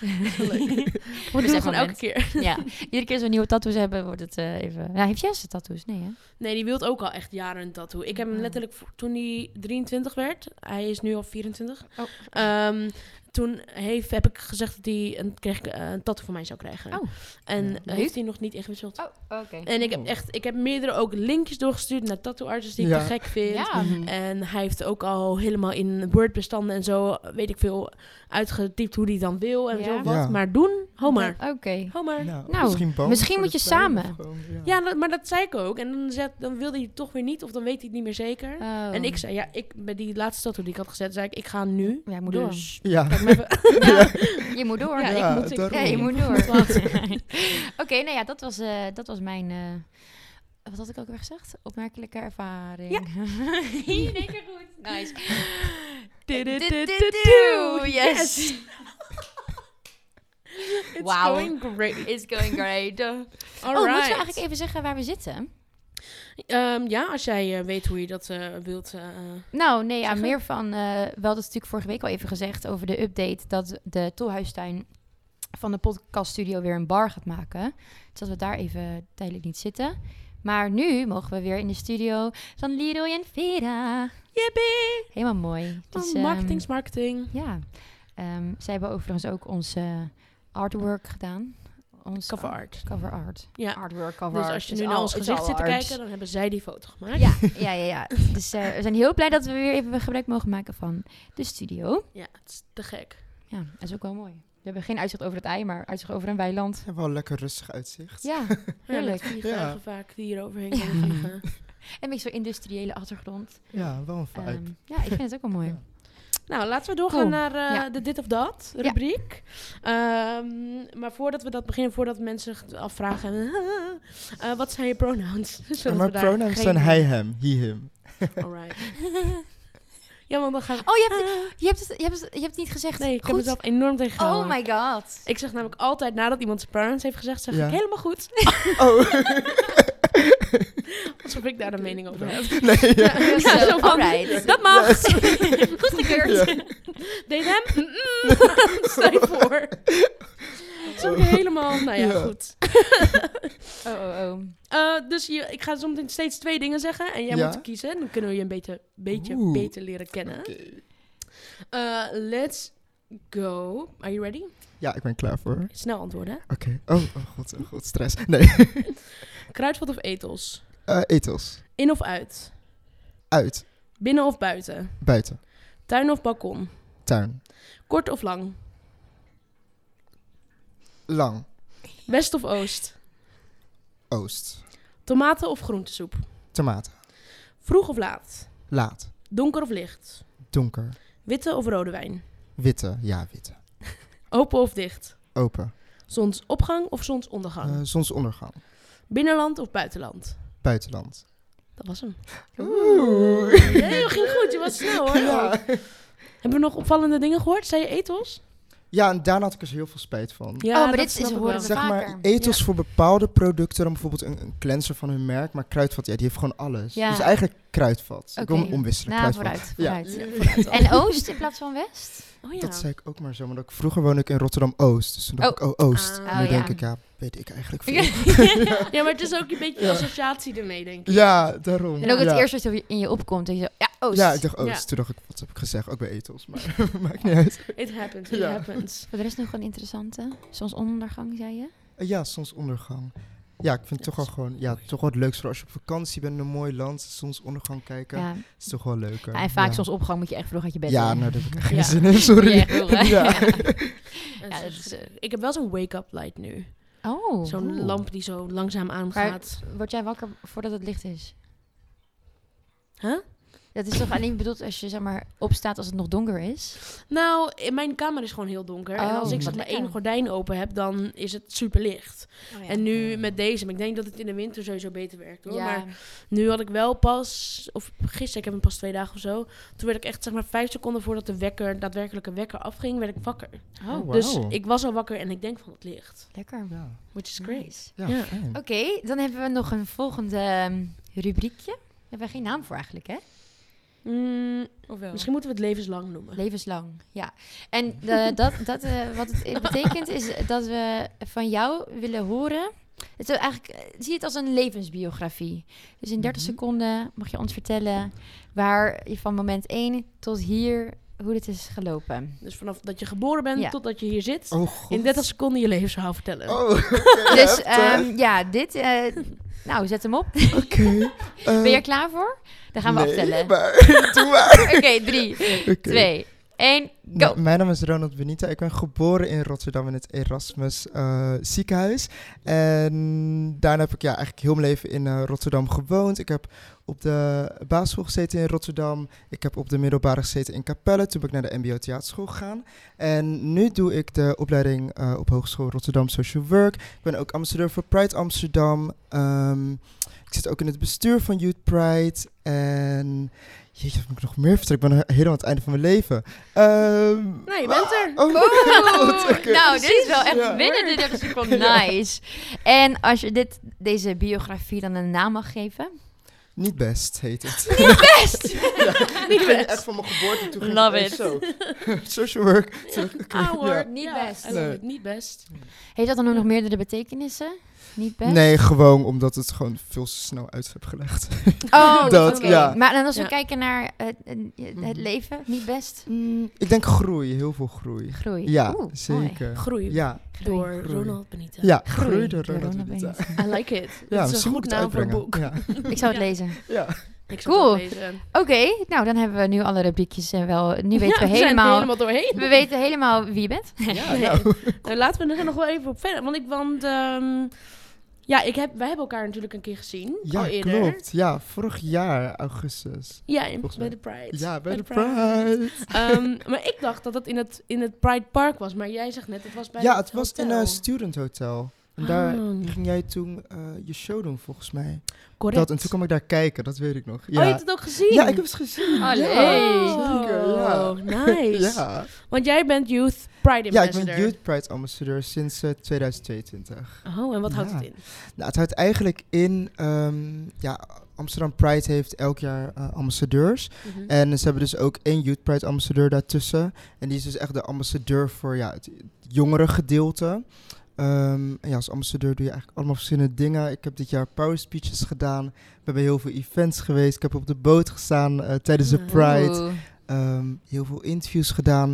[SPEAKER 2] We doen
[SPEAKER 3] echt
[SPEAKER 2] het gewoon
[SPEAKER 3] wel
[SPEAKER 2] elke keer.
[SPEAKER 3] ja. Iedere keer als we nieuwe tattoos hebben, wordt het eh, even... Ja, heeft jij zijn tattoos? Nee, hè?
[SPEAKER 2] Nee, die wilde ook al echt jaren een tattoo. Ik heb hem
[SPEAKER 3] Ja.
[SPEAKER 2] letterlijk vo- toen hij 23 werd. Hij is nu al 24.
[SPEAKER 3] Oh.
[SPEAKER 2] Ehm, toen heeft, heb ik gezegd dat hij een, kreeg, ik, eh, een tattoo van mij zou krijgen.
[SPEAKER 3] Oh.
[SPEAKER 2] En
[SPEAKER 4] Ja.
[SPEAKER 2] eh, heeft hij nog niet ingewisseld.
[SPEAKER 3] Oh, oké.
[SPEAKER 2] En ik heb
[SPEAKER 4] Oh.
[SPEAKER 2] echt, ik heb meerdere ook linkjes doorgestuurd naar tattoo artists die
[SPEAKER 4] Ja.
[SPEAKER 2] ik te gek vind.
[SPEAKER 3] Ja.
[SPEAKER 4] Mhm.
[SPEAKER 2] En hij heeft ook al helemaal in Word-bestanden en zo, weet ik veel, uitgetypt hoe hij dan wil en
[SPEAKER 3] Ja.
[SPEAKER 2] zo wat.
[SPEAKER 4] Ja.
[SPEAKER 2] Maar doen, Homer.
[SPEAKER 3] Oké.
[SPEAKER 2] Homer. Ja.
[SPEAKER 4] Nou,
[SPEAKER 3] Nou,
[SPEAKER 4] misschien, bomen
[SPEAKER 3] misschien
[SPEAKER 4] voor
[SPEAKER 3] moet
[SPEAKER 4] de
[SPEAKER 3] je
[SPEAKER 4] tuin of
[SPEAKER 3] samen.
[SPEAKER 4] gewoon, ja.
[SPEAKER 2] dat- maar dat zei ik ook. En dan, zegt, dan wilde hij het toch weer niet, of dan weet hij het niet meer zeker.
[SPEAKER 3] Oh.
[SPEAKER 2] En ik zei, ja, ik, bij die laatste tattoo die ik had gezet, zei ik, ik ga nu.
[SPEAKER 3] Ja, je moet door.
[SPEAKER 2] dus,
[SPEAKER 4] Ja.
[SPEAKER 2] kijk maar even.
[SPEAKER 3] Je moet door.
[SPEAKER 2] Ja,
[SPEAKER 4] Ja,
[SPEAKER 2] ik moet, ik-
[SPEAKER 4] daarom.
[SPEAKER 3] Ja, je moet door. Oké, nou ja, dat was, eh, dat was mijn... eh, wat had ik ook weer gezegd? Opmerkelijke ervaring. Ja. In één keer goed. Nice. Du-du-du-du-du. Yes.
[SPEAKER 2] It's
[SPEAKER 3] Wauw.
[SPEAKER 2] going great.
[SPEAKER 3] It's going great. Oh,
[SPEAKER 2] Alright.
[SPEAKER 3] moeten we eigenlijk even zeggen waar we zitten?
[SPEAKER 2] Ehm, ja, als jij eh, weet hoe je dat eh, wilt. eh,
[SPEAKER 3] Nou, nee, ja,
[SPEAKER 2] Zeggen?
[SPEAKER 3] meer van... eh, we hadden het natuurlijk vorige week al even gezegd over de update... dat de Tolhuistuin van de podcaststudio weer een bar gaat maken. Dus dat we daar even tijdelijk niet zitten. Maar nu mogen we weer in de studio van Leroy en Vera.
[SPEAKER 2] Yippie!
[SPEAKER 3] Helemaal mooi. Dus, ehm,
[SPEAKER 2] marketing is marketing.
[SPEAKER 3] Ja. Ehm, zij hebben overigens ook ons eh, artwork gedaan. Ons
[SPEAKER 2] Cover
[SPEAKER 3] ar-
[SPEAKER 2] art.
[SPEAKER 3] Cover art.
[SPEAKER 2] Ja.
[SPEAKER 3] Artwork, cover
[SPEAKER 2] Dus
[SPEAKER 3] art.
[SPEAKER 2] als je
[SPEAKER 3] is
[SPEAKER 2] nu naar
[SPEAKER 3] al-
[SPEAKER 2] ons
[SPEAKER 3] is
[SPEAKER 2] gezicht
[SPEAKER 3] al
[SPEAKER 2] zit te
[SPEAKER 3] art.
[SPEAKER 2] kijken, dan hebben zij die foto gemaakt.
[SPEAKER 3] Ja, ja, ja, ja. Dus eh, we zijn heel blij dat we weer even gebruik mogen maken van de studio.
[SPEAKER 2] Ja, het is te gek.
[SPEAKER 3] Ja, dat is ook wel mooi. We hebben geen uitzicht over het ei, maar uitzicht over een weiland.
[SPEAKER 4] We hebben wel lekker rustig uitzicht.
[SPEAKER 3] Ja,
[SPEAKER 2] Ja, met
[SPEAKER 3] heerlijk.
[SPEAKER 2] vliegtuigen
[SPEAKER 4] Ja.
[SPEAKER 2] vaak die hier overheen kunnen vliegen.
[SPEAKER 3] En met zo'n industriële achtergrond.
[SPEAKER 4] Ja, wel een vibe.
[SPEAKER 3] Ehm, ja, ik vind het ook wel mooi.
[SPEAKER 4] Ja.
[SPEAKER 2] Nou, laten we doorgaan
[SPEAKER 3] Oh,
[SPEAKER 2] naar eh,
[SPEAKER 3] ja.
[SPEAKER 2] de dit of dat
[SPEAKER 3] Ja.
[SPEAKER 2] rubriek. Ehm, maar voordat we dat beginnen, voordat mensen zich afvragen, eh, wat zijn je pronouns? Zodat we
[SPEAKER 4] maar
[SPEAKER 2] daar
[SPEAKER 4] pronouns
[SPEAKER 2] geen-
[SPEAKER 4] zijn hij, hem, he, him.
[SPEAKER 2] Alright. ja, want dan gaan we...
[SPEAKER 3] Oh, je hebt, je, hebt het, je, hebt het, je hebt het niet gezegd.
[SPEAKER 2] Nee, ik heb
[SPEAKER 3] Goed.
[SPEAKER 2] mezelf enorm tegengehouden.
[SPEAKER 3] Oh my god.
[SPEAKER 2] Ik zeg namelijk altijd nadat iemand zijn pronouns heeft gezegd, zeg
[SPEAKER 4] Ja.
[SPEAKER 2] ik helemaal goed.
[SPEAKER 4] Oh,
[SPEAKER 2] Alsof ik daar een mening over heb.
[SPEAKER 4] nee, ja.
[SPEAKER 3] Ja,
[SPEAKER 2] Ja, zo van,
[SPEAKER 3] alright.
[SPEAKER 2] Dat mag.
[SPEAKER 3] Goed gekeurd.
[SPEAKER 2] Deed hem? Mm, Stel je voor. Zo ben ik helemaal... Nou ja,
[SPEAKER 4] Ja.
[SPEAKER 2] goed.
[SPEAKER 3] Oh, oh, oh.
[SPEAKER 2] Eh, dus je, ik ga zometeen steeds twee dingen zeggen en jij
[SPEAKER 4] Ja.
[SPEAKER 2] moet kiezen. Dan kunnen we je een beetje, beetje
[SPEAKER 4] Oeh.
[SPEAKER 2] beter leren kennen.
[SPEAKER 4] Oké.
[SPEAKER 2] Eh, let's go. Are you ready?
[SPEAKER 4] Ja, ik ben klaar voor. Oké.
[SPEAKER 2] Snel antwoorden.
[SPEAKER 4] Oh, oh god, oh god, stress. Nee.
[SPEAKER 2] Kruidvat of etels?
[SPEAKER 4] Eh etels.
[SPEAKER 2] In of uit?
[SPEAKER 4] Uit.
[SPEAKER 2] Binnen of buiten?
[SPEAKER 4] Buiten.
[SPEAKER 2] Tuin of balkon?
[SPEAKER 4] Tuin.
[SPEAKER 2] Kort of lang?
[SPEAKER 4] Lang.
[SPEAKER 2] West of oost?
[SPEAKER 4] Oost.
[SPEAKER 2] Tomaten of groentesoep?
[SPEAKER 4] Tomaten.
[SPEAKER 2] Vroeg of laat?
[SPEAKER 4] Laat.
[SPEAKER 2] Donker of licht?
[SPEAKER 4] Donker.
[SPEAKER 2] Witte of rode wijn?
[SPEAKER 4] Witte. Ja, witte.
[SPEAKER 2] Open of dicht?
[SPEAKER 4] Open.
[SPEAKER 2] Zonsopgang of
[SPEAKER 4] Eh,
[SPEAKER 2] zonsondergang?
[SPEAKER 4] zonsondergang.
[SPEAKER 2] Binnenland of buitenland?
[SPEAKER 4] Buitenland.
[SPEAKER 2] Dat was hem.
[SPEAKER 4] Oeh.
[SPEAKER 2] Nee, dat ging goed. Je was snel hoor.
[SPEAKER 4] Ja.
[SPEAKER 2] Hebben we nog opvallende dingen gehoord? Zei je ethos?
[SPEAKER 4] ja, en daarna had ik er heel veel spijt van.
[SPEAKER 2] Ja,
[SPEAKER 3] Oh, maar
[SPEAKER 2] dat
[SPEAKER 3] dit is-
[SPEAKER 2] snap ik
[SPEAKER 3] horen
[SPEAKER 2] wel.
[SPEAKER 3] we
[SPEAKER 4] zeg maar,
[SPEAKER 3] vaker.
[SPEAKER 4] ethos voor bepaalde producten, dan bijvoorbeeld een, een cleanser van hun merk, maar kruidvat, ja, die heeft gewoon alles.
[SPEAKER 3] Ja.
[SPEAKER 4] Dus eigenlijk kruidvat. Ik wil
[SPEAKER 3] Oké.
[SPEAKER 4] hem omwisselen,
[SPEAKER 3] Nou,
[SPEAKER 4] kruidvat.
[SPEAKER 3] vooruit. vooruit.
[SPEAKER 2] Ja, vooruit dan.
[SPEAKER 3] En Oost in plaats van West?
[SPEAKER 2] Oh ja.
[SPEAKER 4] Dat zei ik ook maar zo, maar dat ik, vroeger woonde ik in Rotterdam-Oost, dus toen dacht ik, oh, Oost.
[SPEAKER 2] Ah.
[SPEAKER 3] Oh,
[SPEAKER 4] nu
[SPEAKER 3] ja.
[SPEAKER 4] denk ik, ja, weet ik eigenlijk veel. Ja,
[SPEAKER 2] ja. maar het is ook een beetje
[SPEAKER 4] Ja.
[SPEAKER 2] associatie ermee, denk ik.
[SPEAKER 4] daarom.
[SPEAKER 3] En ook
[SPEAKER 4] ja.
[SPEAKER 3] het eerste wat in je opkomt. Dat je zo, ja, Oost.
[SPEAKER 4] Ja, ik dacht
[SPEAKER 2] Ja.
[SPEAKER 4] Oost. Toen dacht ik, wat heb ik gezegd? Ook bij ethos, maar maakt niet uit.
[SPEAKER 2] It happens, it
[SPEAKER 4] Ja.
[SPEAKER 2] happens.
[SPEAKER 3] Voor de rest Oh, nog een interessante. Soms ondergang, zei je.
[SPEAKER 4] Eh, Ja, zonsondergang. Ja, ik vind het toch wel gewoon, ja, toch wel het leukst voor als je op vakantie bent in een mooi land, zonsondergang kijken,
[SPEAKER 3] Ja.
[SPEAKER 4] is toch wel leuker.
[SPEAKER 3] Ja, en vaak
[SPEAKER 4] ja.
[SPEAKER 3] soms opgang moet je echt vroeg uit je bed.
[SPEAKER 4] Ja,
[SPEAKER 3] in.
[SPEAKER 4] nou, daar heb ik echt geen
[SPEAKER 2] Ja.
[SPEAKER 4] zin in, sorry.
[SPEAKER 3] Ja, echt heel raar.
[SPEAKER 4] Ja.
[SPEAKER 2] En
[SPEAKER 3] Ja,
[SPEAKER 2] zo-
[SPEAKER 3] dat is, eh,
[SPEAKER 2] ik heb wel zo'n wake-up light nu.
[SPEAKER 3] Oh.
[SPEAKER 2] Zo'n
[SPEAKER 4] Oeh.
[SPEAKER 2] lamp die zo langzaam aangaat.
[SPEAKER 3] Word jij wakker voordat het licht is?
[SPEAKER 2] Huh?
[SPEAKER 3] Dat is toch alleen bedoeld als je zeg maar, opstaat als het nog donker is?
[SPEAKER 2] Nou, in mijn kamer is gewoon heel donker. en
[SPEAKER 3] Oh,
[SPEAKER 2] als ik
[SPEAKER 4] wat
[SPEAKER 2] zeg maar
[SPEAKER 3] lekker.
[SPEAKER 2] één gordijn open heb, dan is het super licht.
[SPEAKER 3] Oh,
[SPEAKER 2] En nu met deze, maar ik denk dat het in de winter sowieso beter werkt hoor.
[SPEAKER 3] ja.
[SPEAKER 2] Maar Nu had ik wel pas, of gisteren, ik heb hem pas twee dagen of zo. Toen werd ik echt, zeg maar, vijf seconden voordat de wekker, daadwerkelijke wekker afging, werd ik wakker.
[SPEAKER 3] Oh,
[SPEAKER 4] Wauw.
[SPEAKER 2] Dus ik was al wakker en ik denk van het licht.
[SPEAKER 3] lekker.
[SPEAKER 4] Ja,
[SPEAKER 2] Which is great.
[SPEAKER 3] Nice.
[SPEAKER 4] ja,
[SPEAKER 2] Ja.
[SPEAKER 4] fijn.
[SPEAKER 3] Oké, dan hebben we nog een volgende ehm, rubriekje. Daar hebben we geen naam voor eigenlijk, hè?
[SPEAKER 2] Mm,
[SPEAKER 3] Of
[SPEAKER 2] misschien moeten we het levenslang noemen.
[SPEAKER 3] Levenslang, ja. En eh, dat, dat, eh, wat het betekent is dat we van jou willen horen... Het is eigenlijk, eh, zie het als een levensbiografie. Dus in 30
[SPEAKER 4] Mhm.
[SPEAKER 3] seconden mag je ons vertellen... waar je van moment 1 tot hier, hoe dit is gelopen.
[SPEAKER 2] dus vanaf dat je geboren bent
[SPEAKER 3] Ja.
[SPEAKER 2] totdat je hier zit,
[SPEAKER 4] Oh, god.
[SPEAKER 2] in 30 seconden je levensverhaal vertellen.
[SPEAKER 4] Oh, oké,
[SPEAKER 3] Dus
[SPEAKER 4] heftig.
[SPEAKER 3] ehm, ja, dit... eh, nou, zet hem op.
[SPEAKER 4] Oké. eh,
[SPEAKER 3] Ben je er klaar voor? Dan gaan we
[SPEAKER 4] nee,
[SPEAKER 3] aftellen.
[SPEAKER 4] maar- doe maar.
[SPEAKER 3] Oké, drie,
[SPEAKER 4] Oké.
[SPEAKER 3] twee, één, go.
[SPEAKER 4] Nou, mijn naam is Ronald Benita. Ik ben geboren in Rotterdam in het Erasmus eh, ziekenhuis. En daarna heb ik ja, eigenlijk heel mijn leven in eh, Rotterdam gewoond. Ik heb op de basisschool gezeten in Rotterdam. Ik heb op de middelbare gezeten in Capelle. Toen ben ik naar de MBO Theaterschool gegaan. En nu doe ik de opleiding eh, op Hogeschool Rotterdam Social Work. Ik ben ook ambassadeur voor Pride Amsterdam. Ehm, ik zit ook in het bestuur van Youth Pride. En jeetje, wat moet ik nog meer vertellen? Ik ben he- helemaal aan het einde van mijn leven. Ehm,
[SPEAKER 3] Nou,
[SPEAKER 2] Nee, je bent er.
[SPEAKER 4] Oh,
[SPEAKER 3] Oeh,
[SPEAKER 4] oké.
[SPEAKER 3] Nou, dit is wel echt
[SPEAKER 4] eh, Ja.
[SPEAKER 3] binnen de 30 seconden. Nice. En als je dit, deze biografie dan een naam mag geven.
[SPEAKER 4] Niet best heet het.
[SPEAKER 3] Best!
[SPEAKER 4] ik ben echt van mijn geboorte toe. ging
[SPEAKER 3] Love
[SPEAKER 4] het
[SPEAKER 3] it.
[SPEAKER 4] opeens zo. Social work. Terug. Oké,
[SPEAKER 2] Ah, hoor.
[SPEAKER 4] ja.
[SPEAKER 3] Niet
[SPEAKER 2] Ja,
[SPEAKER 3] best.
[SPEAKER 2] I love
[SPEAKER 4] Nee.
[SPEAKER 2] it. Niet best.
[SPEAKER 3] Heeft dat dan ook nog meerdere betekenissen? Niet best?
[SPEAKER 4] Nee, gewoon omdat het gewoon veel te snel uit heb gelegd.
[SPEAKER 3] Oh,
[SPEAKER 4] Dat,
[SPEAKER 3] dat,
[SPEAKER 4] ja.
[SPEAKER 3] Maar dan als we
[SPEAKER 2] Ja.
[SPEAKER 3] kijken naar het, het
[SPEAKER 4] Mhm.
[SPEAKER 3] leven, niet best?
[SPEAKER 4] ik denk groei, heel veel groei.
[SPEAKER 3] Groei.
[SPEAKER 4] Ja,
[SPEAKER 3] Oeh, mooi.
[SPEAKER 4] zeker.
[SPEAKER 2] Groei
[SPEAKER 4] Ja,
[SPEAKER 3] Groei.
[SPEAKER 2] door
[SPEAKER 4] Groei.
[SPEAKER 2] Ronald Benita.
[SPEAKER 4] ja,
[SPEAKER 3] Groei
[SPEAKER 4] groei
[SPEAKER 3] door
[SPEAKER 4] door Ronald
[SPEAKER 3] Ronald
[SPEAKER 4] Benita.
[SPEAKER 3] Benita.
[SPEAKER 2] I like it.
[SPEAKER 4] Ja,
[SPEAKER 2] Dat is een goed
[SPEAKER 4] misschien moet ik
[SPEAKER 2] naam
[SPEAKER 4] het
[SPEAKER 2] voor een
[SPEAKER 4] uitbrengen.
[SPEAKER 2] boek.
[SPEAKER 4] Ja.
[SPEAKER 3] Ik zou het
[SPEAKER 2] Ja.
[SPEAKER 3] lezen.
[SPEAKER 4] ja.
[SPEAKER 2] Ik zal het
[SPEAKER 3] Cool.
[SPEAKER 2] wel lezen.
[SPEAKER 3] Oké, nou dan hebben we nu alle rubriekjes eh, wel. Nu weten
[SPEAKER 2] Ja,
[SPEAKER 3] we
[SPEAKER 2] zijn er
[SPEAKER 3] helemaal.
[SPEAKER 2] helemaal doorheen.
[SPEAKER 3] We weten helemaal wie je bent.
[SPEAKER 4] Ja,
[SPEAKER 2] Nee. Eh,
[SPEAKER 4] nou.
[SPEAKER 2] Nou, laten we er nog wel even op verder. Want ik want. ehm, Ja, ik heb, wij hebben elkaar natuurlijk een keer gezien. al
[SPEAKER 4] Ja,
[SPEAKER 2] eerder.
[SPEAKER 4] klopt. Ja, vorig jaar augustus.
[SPEAKER 2] Ja, in-
[SPEAKER 4] Volgens
[SPEAKER 2] bij
[SPEAKER 4] mij.
[SPEAKER 2] de Pride.
[SPEAKER 4] Ja, bij de
[SPEAKER 2] Pride.
[SPEAKER 4] Pride.
[SPEAKER 2] Ehm, maar ik dacht dat dat in het, in het Pride Park was. Maar jij zegt net, het was bij
[SPEAKER 4] Ja,
[SPEAKER 2] het
[SPEAKER 4] het was in
[SPEAKER 2] hotel.
[SPEAKER 4] een student hotel. En daar
[SPEAKER 2] Ah,
[SPEAKER 4] ging jij toen eh, je show doen, volgens mij.
[SPEAKER 2] correct.
[SPEAKER 4] Dat, en toen kwam ik daar kijken, dat weet ik nog. Ja,
[SPEAKER 2] Oh, je hebt het ook gezien?
[SPEAKER 4] ja ik heb het gezien.
[SPEAKER 3] Oh,
[SPEAKER 4] ja,
[SPEAKER 3] leuk.
[SPEAKER 4] zeker, ja.
[SPEAKER 2] Oh, nice.
[SPEAKER 4] Ja.
[SPEAKER 2] Want jij bent Youth Pride
[SPEAKER 4] ja, ik
[SPEAKER 2] Ambassador.
[SPEAKER 4] ben Youth Pride ambassadeur sinds eh, 2022.
[SPEAKER 2] Oh, en wat houdt
[SPEAKER 4] Ja.
[SPEAKER 2] het in?
[SPEAKER 4] Nou, het houdt eigenlijk in, ehm, ja, Amsterdam Pride heeft elk jaar eh, ambassadeurs.
[SPEAKER 2] Mhm.
[SPEAKER 4] En ze hebben dus ook één Youth Pride ambassadeur daartussen. En die is dus echt de ambassadeur voor ja, het jongere gedeelte. Ehm, en ja, als ambassadeur doe je eigenlijk allemaal verschillende dingen. Ik heb dit jaar power speeches gedaan. Ik ben bij heel veel events geweest. Ik heb op de boot gestaan eh, tijdens de
[SPEAKER 2] Ah.
[SPEAKER 4] Pride.
[SPEAKER 3] Oeh.
[SPEAKER 4] Ehm, heel veel interviews gedaan.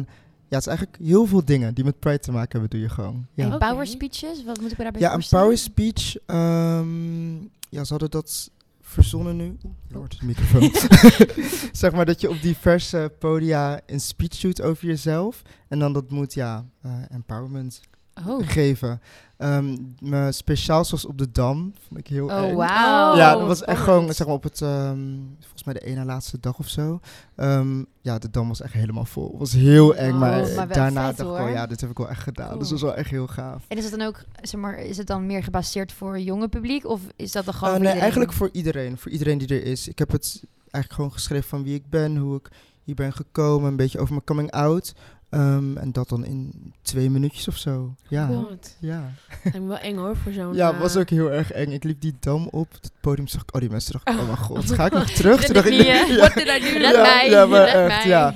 [SPEAKER 4] Ja, het is eigenlijk heel veel dingen die met Pride te maken hebben, doe je gewoon. Ja.
[SPEAKER 3] En
[SPEAKER 2] Oké.
[SPEAKER 3] power speeches, wat moet ik me daarbij
[SPEAKER 4] Ja, een
[SPEAKER 3] voorstellen?
[SPEAKER 4] power speech. ehm, ja, ze hadden dat verzonnen nu. Oeh, Je hoort het microfoon. zeg maar dat je op diverse podia een speech doet over jezelf. En dan dat moet, ja, eh, empowerment
[SPEAKER 3] Oh,
[SPEAKER 4] geven. Ehm, me- speciaal zoals op de Dam, vond ik heel
[SPEAKER 3] oh
[SPEAKER 4] eng.
[SPEAKER 3] wauw.
[SPEAKER 4] Ja,
[SPEAKER 2] Oh,
[SPEAKER 4] dat was echt
[SPEAKER 2] spannend.
[SPEAKER 4] gewoon, zeg maar, op het, ehm, volgens mij de ene laatste dag of zo. Ehm, ja, de dam was echt helemaal vol. was heel eng,
[SPEAKER 3] Wow,
[SPEAKER 4] maar,
[SPEAKER 3] Oh, maar wel
[SPEAKER 4] daarna
[SPEAKER 3] vet,
[SPEAKER 4] dacht ik wel,
[SPEAKER 3] hoor.
[SPEAKER 4] ja, dit heb ik wel echt gedaan. Dus
[SPEAKER 3] Cool.
[SPEAKER 4] dat was wel echt heel gaaf.
[SPEAKER 3] En is het dan ook, zeg maar, is het dan meer gebaseerd voor jonge publiek? Of is dat dan gewoon.
[SPEAKER 4] Eh,
[SPEAKER 3] voor
[SPEAKER 4] nee,
[SPEAKER 3] iedereen?
[SPEAKER 4] eigenlijk voor iedereen. Voor iedereen die er is. Ik heb het eigenlijk gewoon geschreven van wie ik ben, hoe ik hier ben gekomen, een beetje over mijn coming out. Ehm, en dat dan in twee minuutjes of zo. Ja.
[SPEAKER 2] God,
[SPEAKER 4] Ja.
[SPEAKER 2] lijkt me wel eng hoor voor
[SPEAKER 3] Oh,
[SPEAKER 2] zo'n...
[SPEAKER 4] ja,
[SPEAKER 2] eh,
[SPEAKER 4] was ook heel erg eng. Ik liep die dam op, het podium zag ik al die mensen. dacht ik, oh mijn god, ga ik nog terug?
[SPEAKER 3] Red
[SPEAKER 4] Toen dacht
[SPEAKER 3] ik
[SPEAKER 4] ik,
[SPEAKER 3] niet, hè?
[SPEAKER 4] ja.
[SPEAKER 3] What did I do?
[SPEAKER 4] Ja,
[SPEAKER 3] Red mij,
[SPEAKER 4] ja, maar
[SPEAKER 3] red
[SPEAKER 4] echt,
[SPEAKER 3] mij.
[SPEAKER 4] ja.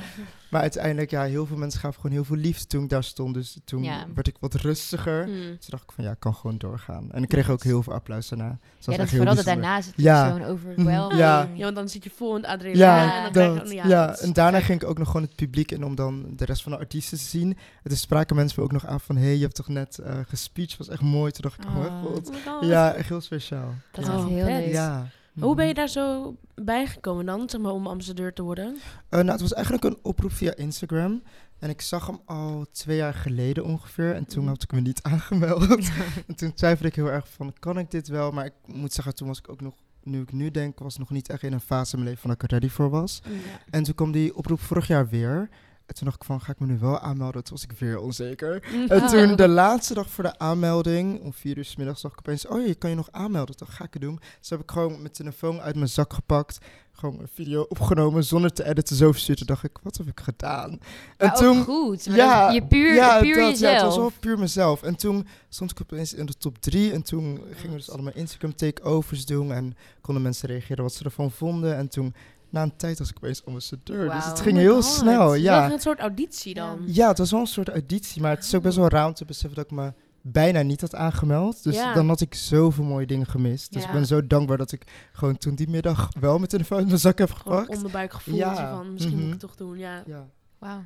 [SPEAKER 4] Maar uiteindelijk, ja, heel veel mensen gaven gewoon heel veel liefde toen ik daar stond. Dus toen
[SPEAKER 3] Ja. Mm.
[SPEAKER 4] werd ik wat rustiger.
[SPEAKER 2] Hmm.
[SPEAKER 4] Toen dacht ik van, ja, ik kan gewoon doorgaan. En ik kreeg ook heel veel applaus daarna. Dus
[SPEAKER 3] Ja,
[SPEAKER 4] was
[SPEAKER 3] dat
[SPEAKER 4] echt heel
[SPEAKER 3] vooral dat
[SPEAKER 4] bijzonder.
[SPEAKER 3] daarna zit
[SPEAKER 4] Ja.
[SPEAKER 3] zo'n overwhelming.
[SPEAKER 4] Ja.
[SPEAKER 2] Oh. Ja, want dan zit je vol in het adrenaline.
[SPEAKER 4] Ja,
[SPEAKER 2] en dan
[SPEAKER 4] dat,
[SPEAKER 2] krijg je...
[SPEAKER 4] ja, en daarna ging ik ook nog gewoon het publiek in om dan de rest van de artiesten te zien. En toen spraken mensen me ook nog aan van, hé, hey, je hebt toch net eh gespeeched, was echt mooi. Toen dacht ik, oh, mijn
[SPEAKER 3] Ah.
[SPEAKER 4] god.
[SPEAKER 2] Oh my God.
[SPEAKER 4] Ja, echt heel speciaal.
[SPEAKER 3] Dat is
[SPEAKER 4] ja.
[SPEAKER 3] echt
[SPEAKER 2] Oh,
[SPEAKER 3] heel
[SPEAKER 2] vet.
[SPEAKER 3] leuk.
[SPEAKER 4] Ja.
[SPEAKER 2] Hoe ben je
[SPEAKER 4] Mhm.
[SPEAKER 2] daar zo bijgekomen dan, zeg maar, om ambassadeur te worden?
[SPEAKER 4] Eh, nou, het was eigenlijk een oproep via Instagram. En ik zag hem al twee jaar geleden ongeveer. En toen
[SPEAKER 2] Mhm.
[SPEAKER 4] had ik me niet aangemeld. en toen twijfelde ik heel erg van, kan ik dit wel? Maar ik moet zeggen, toen was ik ook nog, nu ik nu denk, was nog niet echt in een fase in mijn leven van dat ik er ready voor was. En toen kwam die oproep vorig jaar weer. En toen dacht ik van, ga ik me nu wel aanmelden? Toen was ik weer onzeker. En
[SPEAKER 3] Oh.
[SPEAKER 4] toen de laatste dag voor de aanmelding, om vier uur 's middags, dacht ik opeens... Oh, je kan je nog aanmelden. Toen ga ik het doen. Dus heb ik gewoon mijn telefoon uit mijn zak gepakt. Gewoon een video opgenomen zonder te editen. Zo verstuurd. Toen dacht ik, wat heb ik gedaan?
[SPEAKER 3] Maar
[SPEAKER 4] En
[SPEAKER 3] ook
[SPEAKER 4] toen...
[SPEAKER 3] goed. maar
[SPEAKER 4] ja,
[SPEAKER 3] dat is- je puur,
[SPEAKER 4] ja,
[SPEAKER 3] puur
[SPEAKER 4] dat, ja,
[SPEAKER 3] jezelf.
[SPEAKER 4] het was wel puur mezelf. En toen stond ik opeens in de top drie. En toen gingen we dus allemaal Instagram takeovers doen. En konden mensen reageren wat ze ervan vonden. En toen, na een tijd, was ik opeens ambassadeur. Dus
[SPEAKER 3] Wauw.
[SPEAKER 4] het
[SPEAKER 3] Oh
[SPEAKER 4] ging
[SPEAKER 2] my
[SPEAKER 4] heel
[SPEAKER 2] God.
[SPEAKER 4] snel,
[SPEAKER 2] Je
[SPEAKER 4] ja.
[SPEAKER 2] zag een soort auditie dan.
[SPEAKER 4] Ja, het was wel een soort auditie. Maar het is ook best wel raar om te beseffen dat ik me bijna niet had aangemeld. Dus
[SPEAKER 2] Ja.
[SPEAKER 4] dan had ik zoveel mooie dingen gemist. Dus
[SPEAKER 3] Ja.
[SPEAKER 4] ik ben zo dankbaar dat ik gewoon toen die middag wel mijn telefoon in mijn zak heb
[SPEAKER 2] Gewoon
[SPEAKER 4] gepakt.
[SPEAKER 2] onderbuikgevoel
[SPEAKER 4] Ja.
[SPEAKER 2] zo van, misschien moet ik
[SPEAKER 4] Mhm.
[SPEAKER 2] het toch doen, ja.
[SPEAKER 4] Ja.
[SPEAKER 3] Wauw,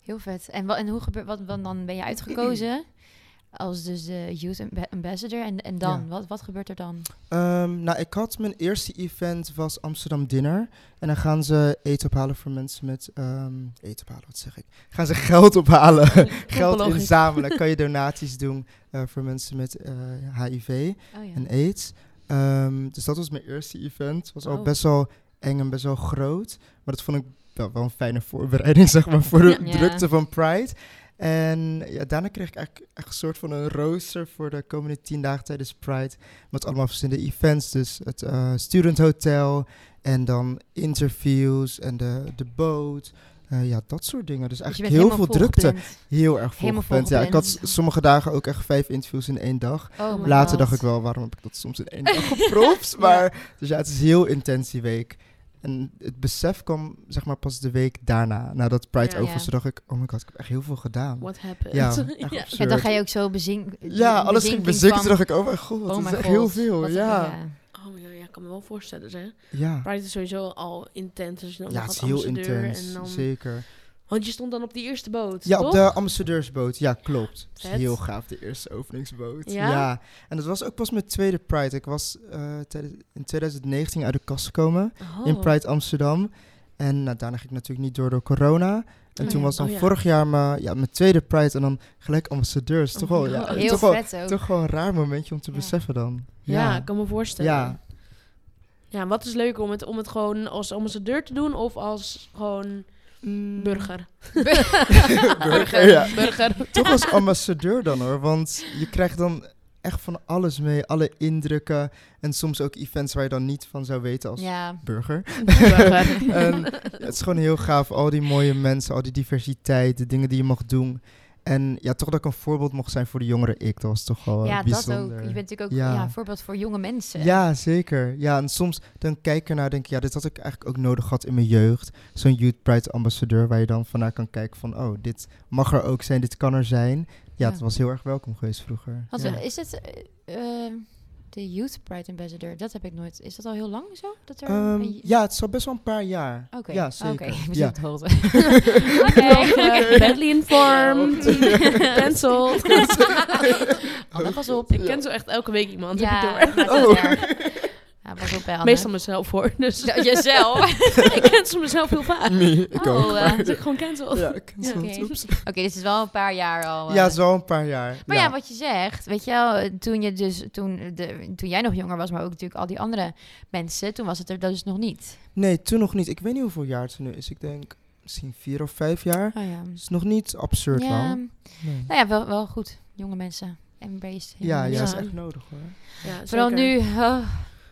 [SPEAKER 3] heel vet. En, wa- en hoe gebeurt, wat, wat dan ben je uitgekozen als dus de Youth amb- Ambassador. En, en dan,
[SPEAKER 4] Ja.
[SPEAKER 3] wat, wat gebeurt er dan?
[SPEAKER 4] Ehm, nou, ik had mijn eerste event was Amsterdam Dinner. En dan gaan ze eten ophalen voor mensen met... ehm eten ophalen, wat zeg ik? Gaan ze geld ophalen. geld
[SPEAKER 2] Logisch.
[SPEAKER 4] inzamelen. kan je donaties doen eh, voor mensen met eh, HIV.
[SPEAKER 3] Oh ja.
[SPEAKER 4] en AIDS. Ehm, dus dat was mijn eerste event. was al
[SPEAKER 2] Oh.
[SPEAKER 4] best wel eng en best wel groot. Maar dat vond ik wel, wel een fijne voorbereiding, zeg maar, voor de
[SPEAKER 3] Ja.
[SPEAKER 4] drukte van Pride. En ja, daarna kreeg ik eigenlijk echt een soort van een rooster voor de komende tien dagen tijdens Pride. Met allemaal verschillende events. Dus het eh, Student Hotel en dan interviews en de, de boot. Eh, ja, dat soort dingen.
[SPEAKER 3] Dus
[SPEAKER 4] Dus
[SPEAKER 3] je
[SPEAKER 4] eigenlijk
[SPEAKER 3] bent
[SPEAKER 4] heel
[SPEAKER 3] helemaal
[SPEAKER 4] veel drukte.
[SPEAKER 3] volgepland.
[SPEAKER 4] Heel erg
[SPEAKER 3] Helemaal
[SPEAKER 4] volgepland. Ja, ik had s-
[SPEAKER 3] volgepland.
[SPEAKER 4] sommige dagen ook echt vijf interviews in één dag.
[SPEAKER 3] Oh my
[SPEAKER 4] Later
[SPEAKER 3] god.
[SPEAKER 4] dacht ik wel, waarom heb ik dat soms in één dag gepropt? Maar, Dus ja, het is heel intens die week. En het besef kwam zeg maar pas de week daarna, nadat Pride
[SPEAKER 2] Ja.
[SPEAKER 4] over was.
[SPEAKER 3] Ja.
[SPEAKER 4] Toen dacht ik, oh my god, ik heb echt heel veel gedaan.
[SPEAKER 2] What happened?
[SPEAKER 4] Ja, echt
[SPEAKER 2] Ja.
[SPEAKER 3] Ja, dan
[SPEAKER 4] absurd.
[SPEAKER 3] ga je ook zo bezinken.
[SPEAKER 4] Ja, alles ging bezinken. Toen dacht ik, oh mijn god, dat is echt heel veel. Ja,
[SPEAKER 2] Oh my god, ja, ik kan me wel voorstellen, zeg.
[SPEAKER 4] ja.
[SPEAKER 2] Pride is sowieso al intens. Dus je dan
[SPEAKER 4] ja
[SPEAKER 2] nog
[SPEAKER 4] het is
[SPEAKER 2] als
[SPEAKER 4] heel
[SPEAKER 2] ambassadeur
[SPEAKER 4] intens,
[SPEAKER 2] En dan...
[SPEAKER 4] zeker.
[SPEAKER 2] Want je stond dan op die eerste boot,
[SPEAKER 4] Ja,
[SPEAKER 2] toch?
[SPEAKER 4] op de ambassadeursboot. Ja, klopt. Het is
[SPEAKER 2] Vet.
[SPEAKER 4] Heel gaaf, de eerste openingsboot.
[SPEAKER 2] Ja?
[SPEAKER 4] Ja? En dat was ook pas mijn tweede Pride. Ik was eh, tijdens- in 2019 uit de kast gekomen.
[SPEAKER 2] Oh.
[SPEAKER 4] in Pride Amsterdam. En nou, daarna ging ik natuurlijk niet door door corona. En
[SPEAKER 3] Oh
[SPEAKER 4] toen
[SPEAKER 3] ja.
[SPEAKER 4] was dan
[SPEAKER 2] Oh ja.
[SPEAKER 4] vorig jaar mijn, ja, mijn tweede Pride en dan gelijk ambassadeurs. Toch wel, ja,
[SPEAKER 2] Oh,
[SPEAKER 3] Heel
[SPEAKER 4] toch, wel,
[SPEAKER 3] vet ook.
[SPEAKER 4] toch wel een raar momentje om te
[SPEAKER 3] Ja.
[SPEAKER 4] beseffen dan.
[SPEAKER 2] Ja,
[SPEAKER 4] Ja,
[SPEAKER 2] ik kan me voorstellen.
[SPEAKER 4] ja.
[SPEAKER 2] Ja, wat is leuker om het, om het gewoon als ambassadeur te doen of als gewoon
[SPEAKER 3] Mm.
[SPEAKER 2] burger?
[SPEAKER 4] Burger, ja.
[SPEAKER 2] Burger.
[SPEAKER 4] toch als ambassadeur dan hoor. Want je krijgt dan echt van alles mee. Alle indrukken en soms ook events waar je dan niet van zou weten als
[SPEAKER 3] Ja.
[SPEAKER 4] burger.
[SPEAKER 2] Burger.
[SPEAKER 4] En Ehm, het is gewoon heel gaaf. Al die mooie mensen, al die diversiteit, de dingen die je mag doen. En ja, toch dat ik een voorbeeld mocht zijn voor de jongere ik. Dat was toch wel
[SPEAKER 3] ja,
[SPEAKER 4] eh,
[SPEAKER 3] dat
[SPEAKER 4] bijzonder.
[SPEAKER 3] ook. Je bent eh, natuurlijk ook ja.
[SPEAKER 4] Ja.
[SPEAKER 3] een voorbeeld voor jonge mensen.
[SPEAKER 4] Ja, zeker. Ja, en soms dan kijk ik ernaar en denk ik, ja, dit had ik eigenlijk ook nodig gehad in mijn jeugd. Zo'n Youth Pride ambassadeur waar je dan vandaan kan kijken van, oh, dit mag er ook zijn, dit kan er zijn. Ja,
[SPEAKER 3] Ja.
[SPEAKER 4] het was heel erg welkom geweest vroeger.
[SPEAKER 3] Had-
[SPEAKER 4] ja.
[SPEAKER 3] Is het eh, eh, de Youth Pride Ambassador? Dat heb ik nooit. Is dat al heel lang zo? Dat er
[SPEAKER 4] Ehm,
[SPEAKER 3] een-
[SPEAKER 4] ja, het is al best wel een paar jaar.
[SPEAKER 3] Oké,
[SPEAKER 4] Ja,
[SPEAKER 3] oké.
[SPEAKER 4] zeker.
[SPEAKER 3] ik ben
[SPEAKER 4] Ja.
[SPEAKER 3] op de hoogte.
[SPEAKER 2] Eh, Badly informed. Cancel.
[SPEAKER 4] Oh,
[SPEAKER 3] Anne, pas op.
[SPEAKER 2] Ik cancel echt elke week iemand. heb je door. Oh.
[SPEAKER 3] Ja, laat het maar. ja, pas op bij Anne.
[SPEAKER 2] Meestal mezelf hoor. Dus
[SPEAKER 3] Ja, Jezelf.
[SPEAKER 2] ik cancel mezelf heel vaak.
[SPEAKER 4] Nee, ik ook.
[SPEAKER 3] Oh, eh,
[SPEAKER 2] Dus ik gewoon cancel.
[SPEAKER 4] Ja, ik
[SPEAKER 3] Ja, oké.
[SPEAKER 4] oeps.
[SPEAKER 3] Oké, dit is wel een paar jaar al. eh.
[SPEAKER 4] Ja, zo een paar jaar.
[SPEAKER 3] Maar ja. wat je zegt, weet je wel, eh, toen, je dus, toen, de, toen jij nog jonger was, maar ook natuurlijk al die andere mensen, toen was het er dus nog niet.
[SPEAKER 4] Nee, toen nog niet. Ik weet niet hoeveel jaar het nu is. Ik denk misschien vier of vijf jaar.
[SPEAKER 3] Oh ja.
[SPEAKER 4] Het is nog niet absurd
[SPEAKER 3] ja.
[SPEAKER 4] lang. Nee.
[SPEAKER 3] Nou ja, wel, wel goed. Jonge mensen. Embrace.
[SPEAKER 4] Ja, ja,
[SPEAKER 2] Ja.
[SPEAKER 4] dat is echt nodig hoor.
[SPEAKER 2] Ja,
[SPEAKER 3] Vooral
[SPEAKER 2] zeker. Oh.
[SPEAKER 3] nu. oh,